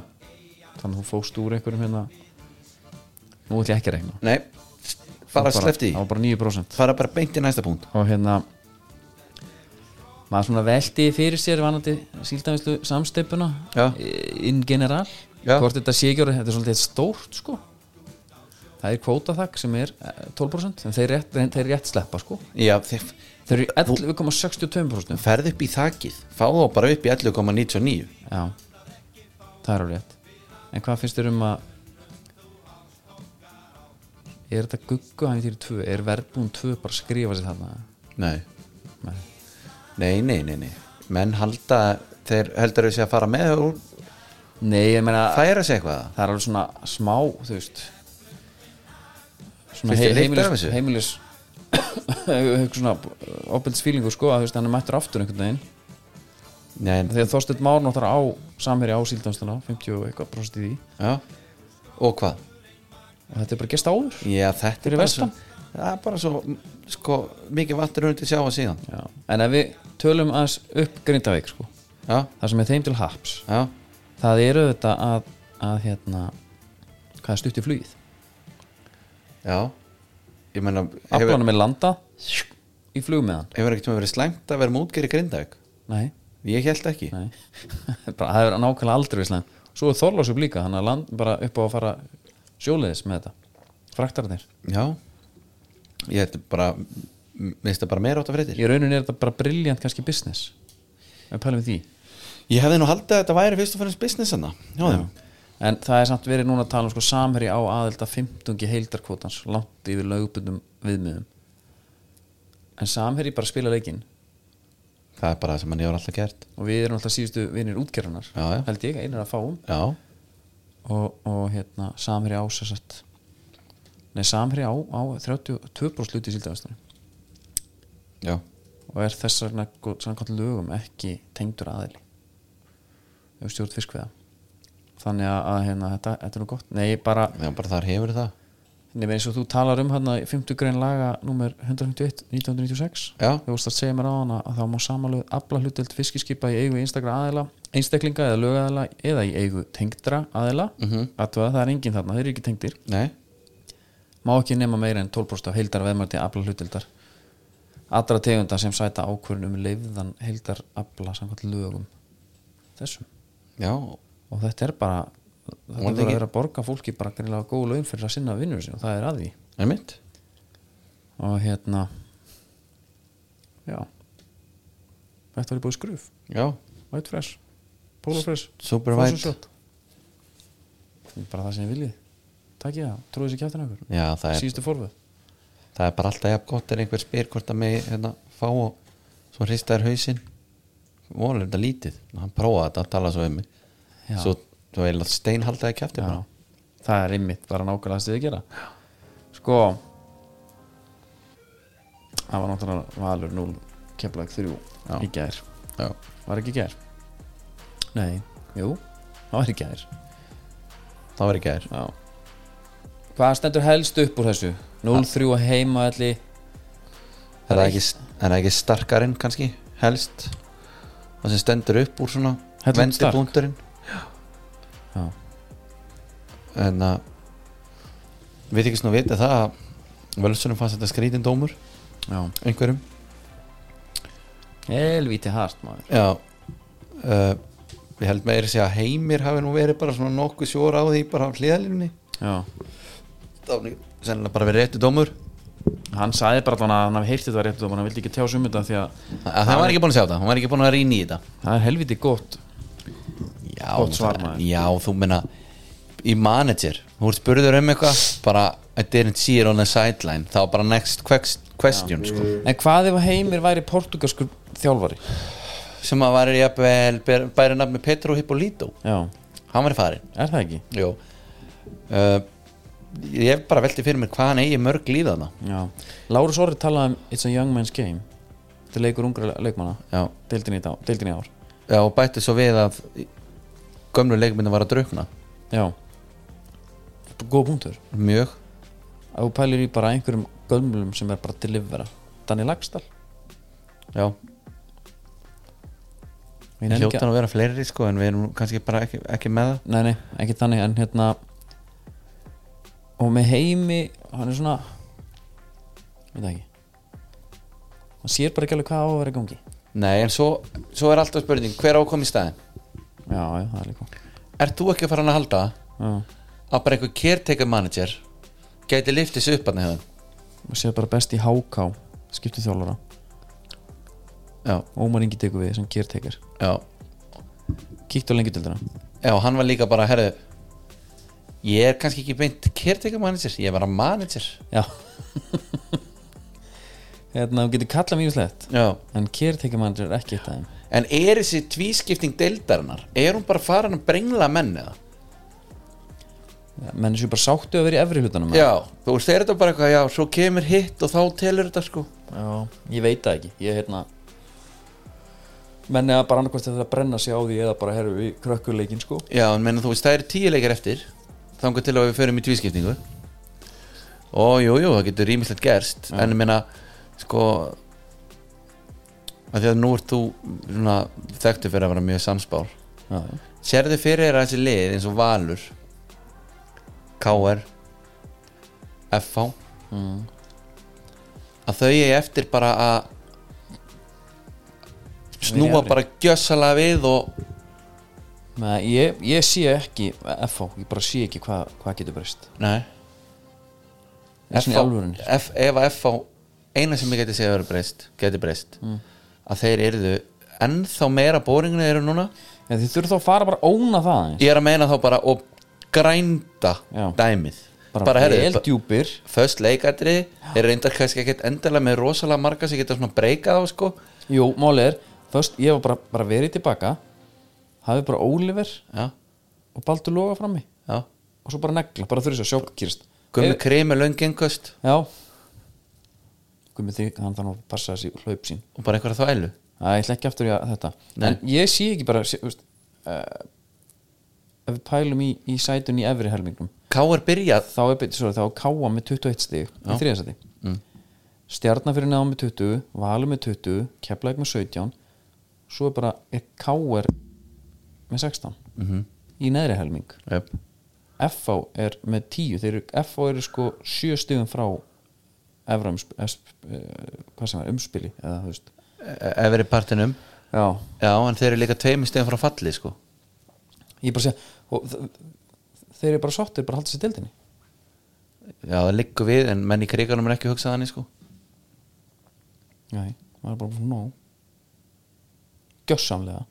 Speaker 1: þannig að þú fóst úr einhverjum hérna nú ætlum ég ekki að reikna
Speaker 2: nei, bara slefti
Speaker 1: það var bara 9%
Speaker 2: Fara bara beint í næsta punkt
Speaker 1: og hérna maður svona veldi fyrir sér vanandi síldavinslu samsteipuna
Speaker 2: Já.
Speaker 1: in general
Speaker 2: Já.
Speaker 1: hvort þetta sé ekki orðið, þetta er svolítið stórt sko það er kvótaþak sem er eh, 12% en þeir rétt, þeir rétt sleppa sko
Speaker 2: Já, þeir
Speaker 1: þeir eru í 11,62%
Speaker 2: ferð upp í þakið fá þá bara upp í 11,99
Speaker 1: Já, það er alveg rétt En hvað finnst þér um að Er þetta guggu hann í týri 2 Er verðbúin 2 bara að skrifa sér þarna
Speaker 2: Nei,
Speaker 1: Nei.
Speaker 2: nei, nei, nei, nei menn halda, þeir heldur þau sé að fara með og
Speaker 1: Nei, ég meina
Speaker 2: færa sig eitthvað
Speaker 1: það er alveg svona smá þú veist svona
Speaker 2: Finnst
Speaker 1: hei,
Speaker 2: þér lykt af
Speaker 1: heimilis
Speaker 2: þessu?
Speaker 1: heimilis einhver svona opilds fílingu sko að þú veist hann er mættur aftur einhvern veginn
Speaker 2: nei, en-
Speaker 1: þegar Þorsteinn Már náttúrulega á samherja á síldanstuna 50 og eitthvað prosent í því
Speaker 2: já. og hvað?
Speaker 1: og þetta er bara gest áður
Speaker 2: Já, þetta
Speaker 1: Fyrir
Speaker 2: er bara svo,
Speaker 1: vestan?
Speaker 2: það er bara svo sko, mikið vatnir undir sjáa síðan
Speaker 1: Já. en ef við tölum aðeins upp Grindavík sko,
Speaker 2: já,
Speaker 1: það sem er þeim til haps
Speaker 2: já,
Speaker 1: það eru þetta að, að hérna hvað er stutt í flugið
Speaker 2: já ég meina, hefur,
Speaker 1: aflanum er landa í flug með hann
Speaker 2: hefur ekkert verið slæmt að vera mútgeri grindaug
Speaker 1: nei,
Speaker 2: ég held ekki
Speaker 1: nei. bara, það er nákvæmlega aldrei við slæm svo er Þorlás upp líka, hann er land bara upp á að fara sjóleiðis með þetta fraktarnir,
Speaker 2: já, ég held bara minnst það bara meira átt af fréttir
Speaker 1: í rauninni er þetta bara briljant kannski business við pælum við því
Speaker 2: ég hefði nú haldið að þetta væri fyrst og fyrir businessana já, já.
Speaker 1: en það er samt verið núna að tala um sko samherji á aðelda 15 heildarkvotans langt yfir lögbundum viðmiðum en samherji bara spila leikinn
Speaker 2: það er bara það sem hann hefur alltaf gert
Speaker 1: og við erum alltaf síðustu vinir útgerðunar
Speaker 2: Já, já.
Speaker 1: held ég, einar að fáum
Speaker 2: já,
Speaker 1: og, og hérna samherji á sérstætt nei samherji á, á 32 brúsluti í síldagastunum
Speaker 2: já,
Speaker 1: og er þess vegna gó- samkvæmt lögum ekki tengdur aðili um stjórn fiskveða þannig að, að hérna, þetta, þetta er nú gott nei bara,
Speaker 2: já bara þar hefur það
Speaker 1: nefnir eins og þú talar um hérna 50 grein laga númer 151 1996
Speaker 2: Já.
Speaker 1: þú vorst að segja mér á hana að þá má samanlögð afla hlutdelt fiskiskipa í eigu einstakra aðila einstaklinga eða lögaðila eða í eigu tengdra aðila mm -hmm. það er enginn þarna, þeir eru ekki tengdir
Speaker 2: mhm. nei,
Speaker 1: má ekki nema meira en 12% af heildar veðmörti afla hlutildar allra tegunda sem sæta ákvörðun um leifðan heildar afla samkvæmt lögum þessum
Speaker 2: já,
Speaker 1: og þetta er bara þetta
Speaker 2: Vonandi
Speaker 1: verður að
Speaker 2: ekki.
Speaker 1: vera að borga fólki bara greiðlega góð laun fyrir að sinna vinnur sinni og það er að því
Speaker 2: er mitt
Speaker 1: og hérna já þetta var í búið skruf,
Speaker 2: já,
Speaker 1: white fresh polar fresh,
Speaker 2: super
Speaker 1: Frozen
Speaker 2: white
Speaker 1: Shot. Það er bara það sem ég viljið takk ég það, trúið sér kjæftin okkur
Speaker 2: já, það er
Speaker 1: síðustu forfið
Speaker 2: það er bara alltaf jafn gott er einhver spyr hvort að mig hérna, fá og svo hristaður hausinn voru þetta lítið hann prófaði þetta að tala svo um mig
Speaker 1: Já.
Speaker 2: svo, svo eiginlega steinhaldaði kæfti
Speaker 1: Já,
Speaker 2: bara
Speaker 1: það er einmitt bara nákvæmlega stuðið að gera sko það var náttúrulega valur 0 keflag 3
Speaker 2: Já.
Speaker 1: í gær
Speaker 2: já,
Speaker 1: var ekki í gær? nei, jú, það var í gær
Speaker 2: það var ekki gær
Speaker 1: já hvað stendur helst upp úr þessu? 0-3 á heimaðalli
Speaker 2: það er ekki, það er ekki starkarinn kannski helst það sem stendur upp úr svona
Speaker 1: Hellum stark.
Speaker 2: vendibúndurinn
Speaker 1: Já.
Speaker 2: en að Hérna, við ekki svona vita það að völsunum fannst þetta skrítin dómur
Speaker 1: já,
Speaker 2: einhverjum
Speaker 1: helvíti hart maður
Speaker 2: Já uh, Ég held meira að segja að heimir hafi nú verið bara svona nokkuð sjóra á því bara á hliðalínunni
Speaker 1: já,
Speaker 2: Það var nú sennilega bara verið réttu dómur
Speaker 1: hann sagði bara allan að hann hafi heyrtið þetta rétt og hann vildi ekki tjá sumunda því að
Speaker 2: Það var ekki búin að sjá það, hún var ekki búin að rýna í þetta
Speaker 1: það er helvíti gott
Speaker 2: Já,
Speaker 1: Gott svar,
Speaker 2: það-
Speaker 1: maður.
Speaker 2: já þú meina í manager, þú ert spurður um eitthvað bara, I didn't see it on the sideline þá bara next quest, question sko.
Speaker 1: en hvað ef heimir væri portugalskur þjálfari?
Speaker 2: sem að var jafnvel ber- bæri nafn með Petro Hippolito
Speaker 1: já,
Speaker 2: hann var í farin
Speaker 1: er það ekki?
Speaker 2: Jó uh, Ég hef bara velti fyrir mér hvað hann eigi mörg líðana
Speaker 1: Já, Lárus Orri talaði um It's a young man's game Þetta er leikur ungra leikmanna
Speaker 2: Já,
Speaker 1: Deildin í, dag, deildin í ár
Speaker 2: Já, og bætti svo við að gömlu leikmyndin var að draukna
Speaker 1: Já Góð punktur
Speaker 2: mjög
Speaker 1: Að þú pælir í bara einhverjum gömlum sem er bara að delivera Danni Lagstall
Speaker 2: Já,
Speaker 1: Ég nenni ekki
Speaker 2: hljótan að vera fleiri sko en við erum nú kannski bara ekki, ekki með það
Speaker 1: Nei, nei, ekki þannig En hérna Og með heimi Hann er svona Veit það ekki Hann sér bara ekki alveg hvað á að vera í gangi
Speaker 2: Nei, en svo, svo er alltaf spurning, hver á að koma í staðin?
Speaker 1: Já, já, það er líka
Speaker 2: Ert þú ekki að fara hann að halda
Speaker 1: Já
Speaker 2: að bara einhver caretaker manager gæti liftið sig upp hérna? hann í höfum?
Speaker 1: Og sér bara best í háká Skiptu þjálfara
Speaker 2: Já,
Speaker 1: Ómar Ingi tekur við sem kér tekar
Speaker 2: já,
Speaker 1: kíktu á lengjutildina
Speaker 2: já, hann var líka bara, herðu Ég er kannski ekki beint caretaker manager, ég er bara manager
Speaker 1: já hérna, þú getur kallað mjög slett
Speaker 2: Já.
Speaker 1: en caretaker manager er ekki eitt af þeim
Speaker 2: En er þessi tvískipting deildarinnar Er hún bara farin að brengla menn eða?
Speaker 1: Ja, menn sem bara sáttu að vera í efri hlutunum
Speaker 2: Já, þú veist, er þetta bara eitthvað Já, svo kemur hitt og þá telur þetta sko
Speaker 1: Já, ég veit það ekki ég hérna menn eða bara annarkvæmst að það brenna sig á því eða bara herru við krökkuleikin sko
Speaker 2: Já, en menna þú veist, það eru tíu leikar eftir Þangar til að við förum í tvískiptingu Og jú, jú, það getur rýmislegt gerst En ég meina, sko að Því að nú ert þú svona, Þekktu fyrir að vera mjög samspár
Speaker 1: já, já.
Speaker 2: Sérðu fyrir þér að þessi lið eins og Valur KR FH
Speaker 1: Mm.
Speaker 2: Að þau eigi eftir bara að Snúa
Speaker 1: Vera í-
Speaker 2: bara gjössalega við Og
Speaker 1: Nei, ég, ég sé ekki FH, ég bara sé ekki hvað hva getur breyst
Speaker 2: Nei
Speaker 1: Ég er svona í alvörunni.
Speaker 2: F, Ef að FH eina sem ég geti segja að vera breyst geti breyst
Speaker 1: Mm.
Speaker 2: að þeir eruðu ennþá meira bóringinu eru núna
Speaker 1: en þið þurfum þá að fara bara að óna það eins
Speaker 2: ég er að meina þá bara og grænda
Speaker 1: Já.
Speaker 2: dæmið
Speaker 1: bara,
Speaker 2: bara
Speaker 1: vel
Speaker 2: herrið,
Speaker 1: djúpir
Speaker 2: föst leikatri er reyndar kannski ekkert endalega með rosalega marga sem geta svona breykað á sko
Speaker 1: jú, málið er, först ég var bara, bara verið tilbaka hafið bara Oliver
Speaker 2: já,
Speaker 1: og Baldur Loga frammi
Speaker 2: já
Speaker 1: og svo bara negla, bara þurfið svo sjókkýrst
Speaker 2: Gummi
Speaker 1: Eh,
Speaker 2: krimi löngengust
Speaker 1: já Gummi því, hann þannig að passa þessi hlaup sín
Speaker 2: og bara eitthvað þá eilu
Speaker 1: Æ, ég ætla ekki aftur í að þetta
Speaker 2: Nei.
Speaker 1: En ég sé ekki bara sé, veist, uh, Ef við pælum í, í sætun í efri helmingnum
Speaker 2: K.R. byrjað
Speaker 1: Þá er betur svo þá er káa með 21 stig Í þriðasæti mm. Stjarnar fyrir náðum með 20, Valur með 20 Keflæk með 17 Svo er bara er káar Með 16 -hmm. Í neðri helming
Speaker 2: yep.
Speaker 1: FH er með 10 Þeir eru, FH eru sko 7 stigum frá Efra umspil, eh, hvað sem er, umspili eða, þú veist.
Speaker 2: e, efri partinum
Speaker 1: Já,
Speaker 2: já, en þeir eru líka tveimur stegum frá falli sko
Speaker 1: ég bara segja og þ- þeir eru bara sáttir bara að halda sér deildinni
Speaker 2: Já, það liggur við en menn í kriganum er ekki hugsað þannig sko
Speaker 1: Nei, það er bara búin nóg gjössamlega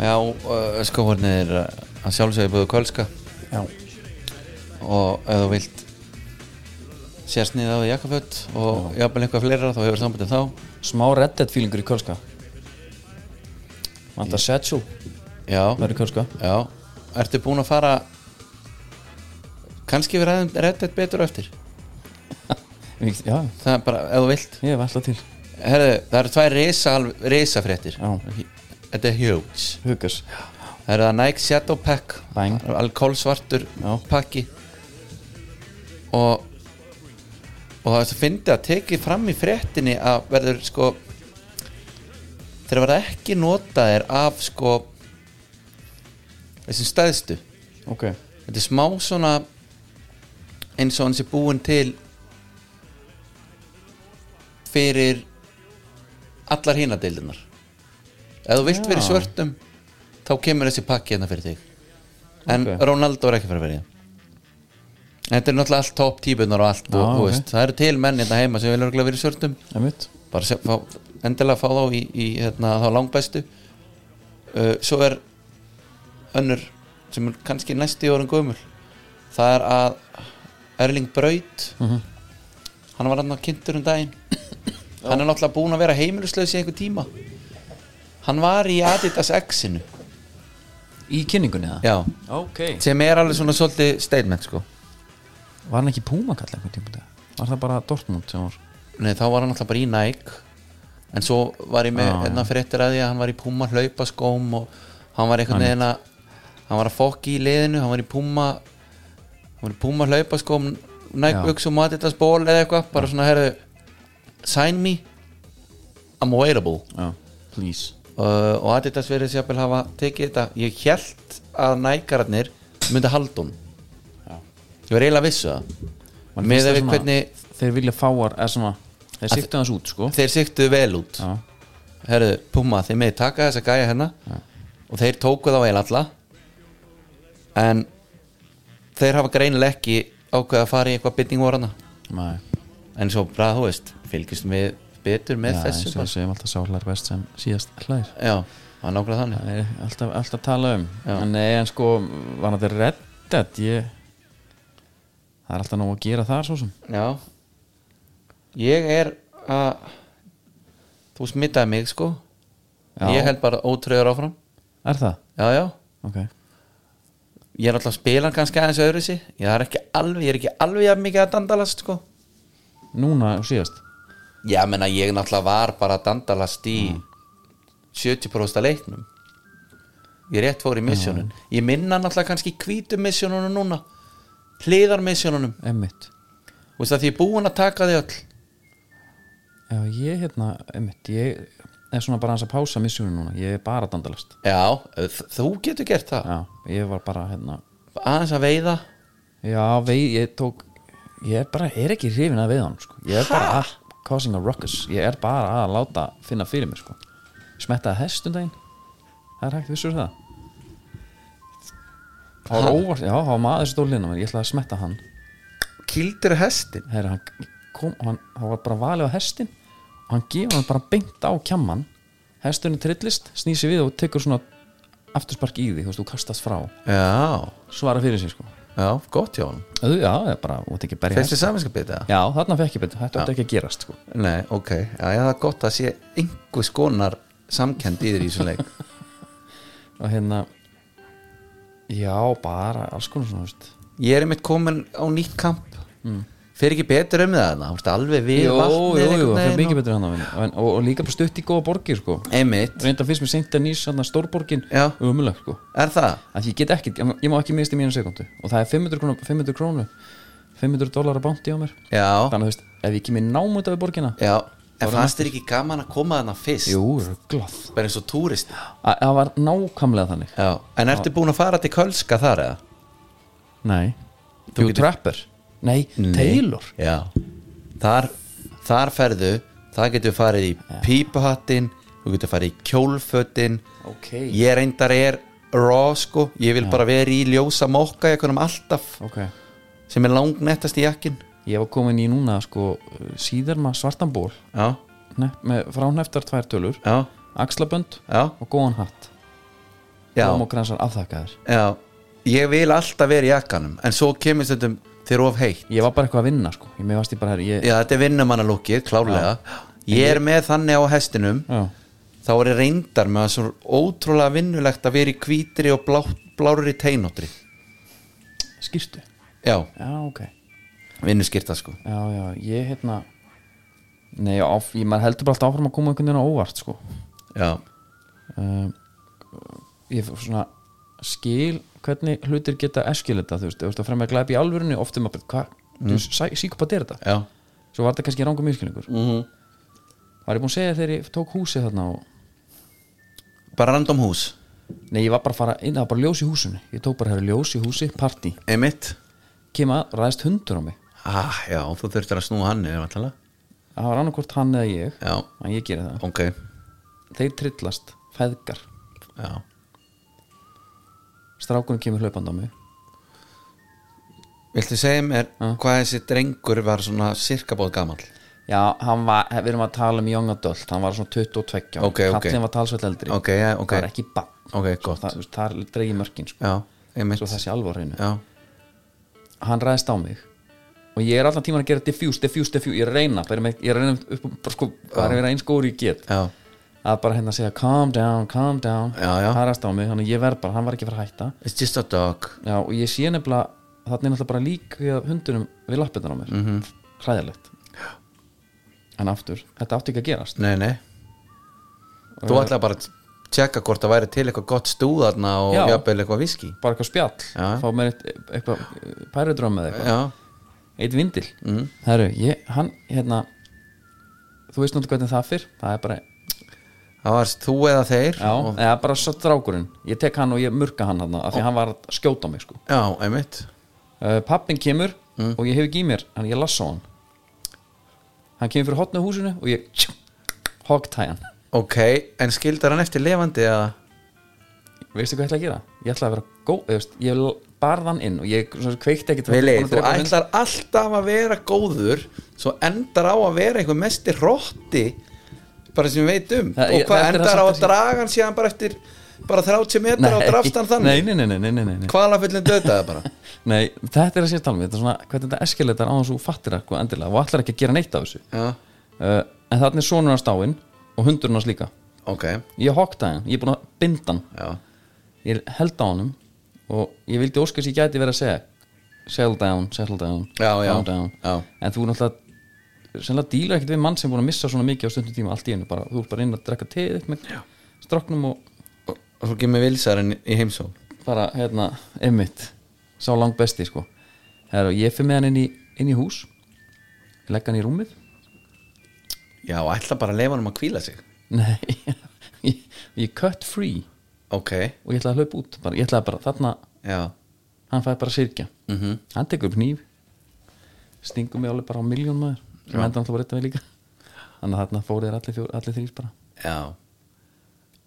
Speaker 2: Já, uh, skóhornið er uh, að sjálfsögðu búið kölska
Speaker 1: Já,
Speaker 2: og ef þú vilt sérst niður á því jakkaföld og jafnvel eitthvað fleira þá hefur sambandið þá
Speaker 1: smá reddet fílingur í kölska Vantar Setsu
Speaker 2: Já,
Speaker 1: verður kölska
Speaker 2: já Ertu búin að fara kannski við ræðum reddett betur á eftir
Speaker 1: Ég- Já,
Speaker 2: það er bara, ef þú vilt
Speaker 1: ég hef alltaf til
Speaker 2: Herðu, það eru tvær risa, risafréttir
Speaker 1: Já.
Speaker 2: Þetta er huge
Speaker 1: Hugas
Speaker 2: Það eru það Nike Shadow Pack
Speaker 1: Bang.
Speaker 2: Alkoholsvartur
Speaker 1: Já.
Speaker 2: pakki Og Og það er svo fyndið að tekið fram í fréttinni að verður sko þeir verða ekki notaðir af sko þessum stæðstu
Speaker 1: Ok,
Speaker 2: þetta er smá svona eins og hann sé búin til fyrir allar hína deildunar ef þú vilt
Speaker 1: Já.
Speaker 2: verið svörtum þá kemur þessi pakki hérna fyrir þig en
Speaker 1: Ok.
Speaker 2: Ronaldo er ekki fyrir fyrir þetta er náttúrulega allt topp típunar og allt
Speaker 1: Já,
Speaker 2: og, þú
Speaker 1: Ah, ok.
Speaker 2: veist, það eru til menn hérna heima sem vil örgulega verið svörtum
Speaker 1: emitt
Speaker 2: bara sem, fá, endilega fá þá í, í hérna, þá langbæstu uh, svo er önnur sem er kannski næstu í orðin gömul það er að Erling Braut hann var hann á kynntur um daginn hann er náttúrulega búin að vera heimiluslaus í einhver tíma hann var í Adidas X-inu
Speaker 1: Í kynningunni það?
Speaker 2: já,
Speaker 1: Ok
Speaker 2: sem er alveg svona svolítið statement sko
Speaker 1: Var hann ekki púmakall einhvern tíma þetta? Var það bara Dortmund sem var
Speaker 2: Nei, þá var hann alltaf bara í Nike En svo var ég með
Speaker 1: Já,
Speaker 2: hérna fréttir að því að hann var í Puma hlaupaskóm og hann var einhvern veginn að hann var að fokki í liðinu, hann var í Puma hann var í Puma hlaupaskóm Nike
Speaker 1: Já.
Speaker 2: buksum að þetta ból eða eitthvað bara svona, herðu sign me, I'm available
Speaker 1: Já, please
Speaker 2: uh, og Adidas verið sér að hafa tekið þetta ég held að nækararnir myndi halda hún ég var eiginlega vissu það með að við hvernig
Speaker 1: Þeir vilja fáar, eða svona Þeir sýttu hans út, sko
Speaker 2: þeir siktuðu vel út
Speaker 1: Já,
Speaker 2: herðu, Puma, þið meði taka þessa gæja hérna og þeir tóku þá eil alla en þeir hafa greinileg ekki ákveða að fara í eitthvað bytning vorana
Speaker 1: Nei.
Speaker 2: en svo bara, þú veist, fylgjast við betur með
Speaker 1: Já, eins
Speaker 2: þessu
Speaker 1: og við
Speaker 2: bara.
Speaker 1: segjum alltaf sálar best sem síðast hlær
Speaker 2: já, það er nákvæmlega þannig
Speaker 1: Það er alltaf, alltaf tala um
Speaker 2: Já.
Speaker 1: en, nei, en sko, var þetta reddet ég það er alltaf nóg að gera þar svo sem
Speaker 2: Já Ég er að Þú smitaði mig sko
Speaker 1: Já.
Speaker 2: Ég held bara ótröður áfram
Speaker 1: er það?
Speaker 2: Já, já
Speaker 1: ok
Speaker 2: Ég er alltaf að spila hann kannski aðeins öðru sig Ég er ekki alveg, ég er ekki alveg að mikið að dandalast sko
Speaker 1: núna og síðast
Speaker 2: Já, menna ég náttúrulega var bara að dandalast í 70% af leiknum Ég rétt fór í misjónun Ég minna náttúrulega kannski hvítum misjónunum núna Hliðar misjónunum
Speaker 1: emmitt
Speaker 2: Þú veist að því ég er búin að taka þau öll
Speaker 1: Já, ég hérna, einmitt, ég er svona bara hans að pása missjónu núna, ég er bara dandalast
Speaker 2: Já, þ- þú getur gert það
Speaker 1: Já, ég var bara hérna
Speaker 2: Aðeins að veiða
Speaker 1: Já, vei, ég tók ég er bara, er ekki hrifin að veið hann sko. ég er bara að causing a ruckus ég er bara að láta finna fyrir mér sko. smettaði hest um daginn það er hægt, vissur það það var óvart, já, það var maður stólinu mér, ég ætlaði að smetta hann
Speaker 2: Kildur hestin
Speaker 1: Heri, hann kom, hann, hann var bara valið á hestin og hann gefur hann bara beint á kjamman hesturinn trillist, snýsi við og tekur svona afturspark í því, þú veist, þú kastast frá
Speaker 2: Já,
Speaker 1: svara fyrir sig sko
Speaker 2: já, gott hjá hann
Speaker 1: Þú, já, það er bara, þú ert ekki að berja
Speaker 2: Fyrstu
Speaker 1: hest.
Speaker 2: saminskapið það?
Speaker 1: Já, þarna fekk ég betur, þetta átti ekki að gerast sko.
Speaker 2: Nei, ok, já, já, það er gott að sé einhvers konar samkend í þér í þessum leik
Speaker 1: og hérna já, bara alls konar svona þú veist.
Speaker 2: Ég er einmitt komin á nýtt kamp Fyrir ekki betur um það þarna, þú veist, alveg við
Speaker 1: jú, jú,
Speaker 2: vatnið
Speaker 1: jú,
Speaker 2: einhvern
Speaker 1: það er
Speaker 2: veginn
Speaker 1: mikið betur hann og, og, og líka bara stutt í góða borgir sko.
Speaker 2: og- Einmitt,
Speaker 1: reynda fyrst mér seint að nýs stórborgin,
Speaker 2: Já.
Speaker 1: umulag sko.
Speaker 2: er það?
Speaker 1: að ég get ekki, ég má ekki misti mínu sekundu og það er 500 krónu, 500 krónu 500 dólar að bánti á mér
Speaker 2: Já,
Speaker 1: þannig að þú veist, ef ég kemur námönda við borgina
Speaker 2: já En fannst þér ekki gaman að koma þarna fyrst?
Speaker 1: jú, glóð
Speaker 2: Bara eins og túrist
Speaker 1: það var nákvæmlega þannig
Speaker 2: Já, en ertu búin að fara til Kölska þar eða?
Speaker 1: nei,
Speaker 2: Þú
Speaker 1: Jú,
Speaker 2: getur-
Speaker 1: Trapper nei, Taylor
Speaker 2: Já Þar, þar ferðu Það getur farið í pípuhattin Þú getur farið í kjólfötin
Speaker 1: ok,
Speaker 2: Ég reyndar er raw sko Ég vil bara vera í ljósa mokka Ekkunum alltaf
Speaker 1: ok
Speaker 2: Sem er langnettast í jakkin
Speaker 1: ég var komin í núna sko síðar maður svartan ból
Speaker 2: Já,
Speaker 1: ne, með fráneftar tvær tölur
Speaker 2: já,
Speaker 1: axlabönd
Speaker 2: já,
Speaker 1: og góðan hatt
Speaker 2: já,
Speaker 1: blómokransar afþakkaðir
Speaker 2: já. Ég vil alltaf vera í jakkanum En svo kemur stundum þér of heitt
Speaker 1: ég var bara eitthvað að vinna sko ég með varst ég bara, ég,
Speaker 2: Já, þetta er vinnumannalúkið, klárlega Ég er með þannig á hestinum
Speaker 1: já,
Speaker 2: Þá er ég reyndar með að svo ótrúlega vinnulegt Að vera í hvítri og blá, blárri teinóttri
Speaker 1: skýrstu
Speaker 2: Já,
Speaker 1: já, ok
Speaker 2: vinnuskyrta sko
Speaker 1: Já, já, ég hérna Nei, á, ég, maður heldur bara alltaf áfram að koma einhvern veginn á óvart sko.
Speaker 2: Já,
Speaker 1: um, Ég f- svona skil hvernig hlutir geta eskilita þú veist, ef þú veist að fremja glæpi í alvörunni oft er maður, bara, hvað, mm. þú síkupat er þetta
Speaker 2: já,
Speaker 1: svo var þetta kannski ranga mjöskilningur mm.
Speaker 2: Mhm.
Speaker 1: Var ég búinn að segja þegar ég tók húsið þarna og...
Speaker 2: bara random hús
Speaker 1: Nei, ég var bara að fara inn, það var bara ljós í húsinu ég tók bara að höra ljós í húsi, partí
Speaker 2: Einmitt
Speaker 1: kem að ræðist hundur á mig
Speaker 2: ah, Já, þú þurftir að snúa hann niður vantala
Speaker 1: það var annarkvort hann eða ég
Speaker 2: Já,
Speaker 1: en ég geri það,
Speaker 2: ok
Speaker 1: þeir trillast feðgar
Speaker 2: Já,
Speaker 1: strákunum kemur hlaupandi á mig
Speaker 2: viltu segja mér hvað þessi drengur var svona sirkabóð gamall
Speaker 1: Já, hann var, við erum að tala um young adult hann var svona 22 ára.
Speaker 2: Ok, ok.
Speaker 1: Kallinn var talsveld eldri
Speaker 2: Ok, ja, ok.
Speaker 1: það er ekki bann
Speaker 2: Ok, gott
Speaker 1: það, þú veist, þar dreigi mörkin sko.
Speaker 2: Já, einmitt
Speaker 1: svo þessi alvarinu
Speaker 2: Já,
Speaker 1: hann ræðist á mig og ég er allan tíman að gera diffuse, diffuse, diffuse ég er að reyna, bara með, ég er að reyna upp, bara, sko, bara að vera eins góður og ég get
Speaker 2: já,
Speaker 1: að bara hérna að segja calm down, calm down
Speaker 2: Já, já.
Speaker 1: hann ræðist á mig, þannig að ég verð bara, hann var ekki að fara að hætta
Speaker 2: it's just a dog
Speaker 1: Já, og ég sé nefnilega þarna er náttúrulega bara lík við hundunum við lappirnar á mér, mm
Speaker 2: Mhm.
Speaker 1: -hmm. hræðilegt en aftur, þetta átti ekki að gerast
Speaker 2: Nei, nei Þú ætlaði bara að tjekka hvort það væri til eitthvað gott stúð þarna og
Speaker 1: Já.
Speaker 2: jafnvel eitthvað viski
Speaker 1: bara eitthvað spjall
Speaker 2: Já.
Speaker 1: fá mér eitt, eitthvað pærudrömm eða eitthvað,
Speaker 2: Já, Mhm.
Speaker 1: eitt vindil mm. herru, ég, hann, hérna þú veist náttúrulega hvernig það fyrr það er bara,
Speaker 2: það var þú eða þeir
Speaker 1: já,
Speaker 2: og,
Speaker 1: eða bara svo drákurinn ég tek hann og ég murka hann hann af því hann var að skjóta á mig sko
Speaker 2: já einmitt
Speaker 1: uh, pappin kemur
Speaker 2: Mm.
Speaker 1: og ég hef ekki í mér hann, ég lassa hann hann kemur fyrir hotna húsinu og ég hoggtæ hann
Speaker 2: ok, en skildar hann eftir levandi eða
Speaker 1: veistu hvað ég ætla að gera? Ég ætla að vera góð, þú veist, ég barði hann inn og ég svona, kveikti ekkit
Speaker 2: Vili,
Speaker 1: Búin að
Speaker 2: þú
Speaker 1: drepa hund.
Speaker 2: ætlar alltaf að vera góður svo endar á að vera einhver mesti rotti bara sem við veitum
Speaker 1: Það-
Speaker 2: og
Speaker 1: ég-
Speaker 2: hvað
Speaker 1: þetta er
Speaker 2: endar á
Speaker 1: það
Speaker 2: að
Speaker 1: samt að-
Speaker 2: draga hann síðan bara eftir bara 30 metra og drafst hann
Speaker 1: nei,
Speaker 2: þannig
Speaker 1: nei, nei, nei, nei, nei, nei, nei.
Speaker 2: kvalafullin döðdaði bara
Speaker 1: nei þetta er að sér talmi, þetta er svona hvernig þetta eskeletar á þessu fattir eitthvað endilega og ætlar ekki að gera neitt af þessu
Speaker 2: já,
Speaker 1: uh, en þannig er sonur hans dáinn og hundurinn hans líka
Speaker 2: ok,
Speaker 1: ég hokta hann, ég er búin að binda hann
Speaker 2: já
Speaker 1: ég held á honum og ég vildi óskast ég gæti verið að segja settle down, settle down,
Speaker 2: Já, já,
Speaker 1: calm down
Speaker 2: já.
Speaker 1: en þú náttúrulega sennilega dílar ekkert við mann sem er búin að missa svona mikið á stundum tíma allt í einu bara, þú ert bara inn að drekka teið með stróknum og
Speaker 2: og, og svo kemur vilsarinn í heimsó
Speaker 1: bara, hérna, emmitt sá langt besti, sko Heru, ég fyrir með hann inn í, inn í hús legg hann í rúmið
Speaker 2: já, ætla bara að leifa hann um að kvíla sig
Speaker 1: nei, ég, ég cut free
Speaker 2: ok,
Speaker 1: og ég ætlaði að hlaupa út bara, ég ætlaði bara, þarna,
Speaker 2: já,
Speaker 1: hann fæði bara sirkja
Speaker 2: Mhm.
Speaker 1: -hmm. hann tekur upp nýf stingur mig alveg bara á miljón maður sem endur alltaf að reyta mig líka þannig að þarna fóru þér allir, fjór, allir þrýr bara
Speaker 2: já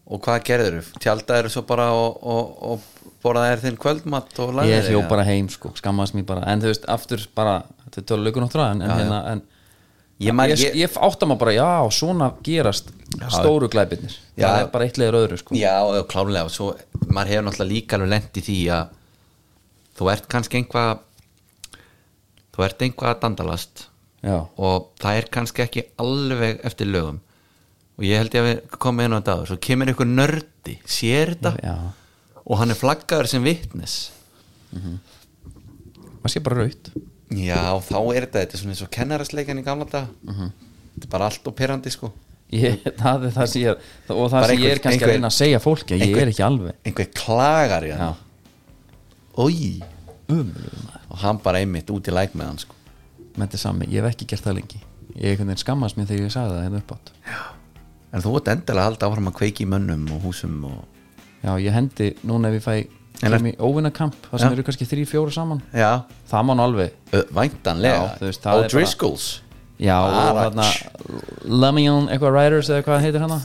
Speaker 2: og hvað gerður þau? tjaldar þau svo bara og, og, og borðaði þér þinn kvöldmatt og lagðir
Speaker 1: ég
Speaker 2: þig,
Speaker 1: hljó
Speaker 2: eða?
Speaker 1: bara heim sko, skammaðist mér bara en þú veist, aftur bara, þetta er tölur lögur náttúrulega en, en, hérna, en
Speaker 2: Ég man-
Speaker 1: ég,
Speaker 2: ég-
Speaker 1: ég, átta maður bara, já, svona gerast stóru glæbirnir
Speaker 2: Já.
Speaker 1: það er bara eitt leiður öðru sko
Speaker 2: Já, og klálega og svo maður hefur náttúrulega líka alveg lent í því að þú ert kannski einhvað þú ert einhvað að dandalast
Speaker 1: já,
Speaker 2: og það er kannski ekki alveg eftir lögum og ég held ég að við komum inn á þetta áður svo kemur einhver nördi, sér þetta
Speaker 1: já.
Speaker 2: og hann er flaggaður sem vitnis
Speaker 1: maður sé bara raut
Speaker 2: Já, þá er þetta, þetta er svona eins og kennarasleikan í gamla dag
Speaker 1: Mhm.
Speaker 2: þetta er bara allt og perandi sko
Speaker 1: ég, það er það sem ég er og það
Speaker 2: Bara
Speaker 1: sem ég er
Speaker 2: einhver-
Speaker 1: kannski
Speaker 2: einhver-
Speaker 1: að reyna að segja fólki að ég
Speaker 2: einhver-
Speaker 1: er ekki alveg
Speaker 2: einhver klagar í
Speaker 1: já,
Speaker 2: hann Új,
Speaker 1: umlugum maður
Speaker 2: og hann bara einmitt út í læk með hann sko
Speaker 1: með þetta sami, ég hef ekki gert það lengi ég einhvern veginn skammast mér þegar ég sagði það hérna upp átt
Speaker 2: En þú ert endilega alltaf áfram að kveiki í mönnum og húsum og...
Speaker 1: já, ég hendi núna ef ég fæ
Speaker 2: En
Speaker 1: kem í óvinnakamp, það sem
Speaker 2: Já.
Speaker 1: eru kannski þrý, fjóru saman
Speaker 2: Já,
Speaker 1: það má nú alveg, Já,
Speaker 2: væntanlega
Speaker 1: þú veist, það
Speaker 2: Og
Speaker 1: er bara-
Speaker 2: Driscolls
Speaker 1: já, og
Speaker 2: Bara-
Speaker 1: þarna Lamion, eitthvað Riders eða hvað hann heitir hana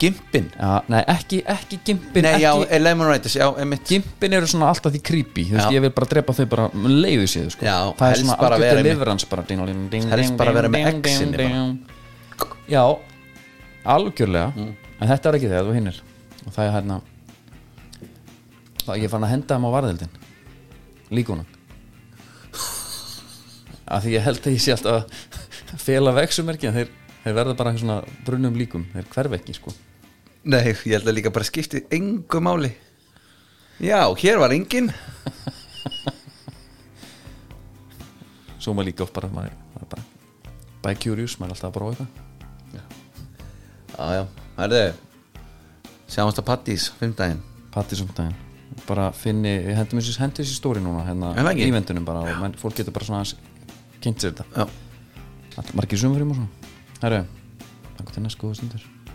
Speaker 2: Gimpin
Speaker 1: já, nei, ekki, ekki Gimpin
Speaker 2: Nei, já,
Speaker 1: ekki,
Speaker 2: eh, Lemon Riders, já, emitt
Speaker 1: Gimpin eru svona alltaf því creepy þú veist,
Speaker 2: Já.
Speaker 1: ég vil bara drepa þau bara leiðu séð, sko,
Speaker 2: Já,
Speaker 1: það er
Speaker 2: helst
Speaker 1: svona
Speaker 2: bara
Speaker 1: algjörð
Speaker 2: vera með-
Speaker 1: deliverance bara ding, ding, ding,
Speaker 2: Helst
Speaker 1: ding,
Speaker 2: bara vera með
Speaker 1: ding, ding,
Speaker 2: X-inni bara.
Speaker 1: ding. já, algjörlega
Speaker 2: Mm.
Speaker 1: en þetta er ekki þegar þú hinnir og það er hérna það ég fann að henda þeim á varðildin líkunum af því ég held að ég sé alltaf að fela vexumerki en þeir, þeir verða bara svona brunnum líkum, þeir hverf ekki sko
Speaker 2: Nei, ég held að líka bara skipti engu máli Já, hér var engin
Speaker 1: svo maður líka upp bara, maður, maður bara by curious, maður er alltaf að prófa eitthvað
Speaker 2: Já, já, herðu Sjáumst að Pattís, fimmdægin
Speaker 1: patti samtæðin bara finni, hendur mér sér hendur sér stóri núna hérna
Speaker 2: Er það
Speaker 1: í
Speaker 2: ekki?
Speaker 1: vendunum bara og menn, fólk getur bara svona aðeins kynnt sér þetta
Speaker 2: Já,
Speaker 1: Allt- margir sumfrým og svona herru, þannig til næst góða stundur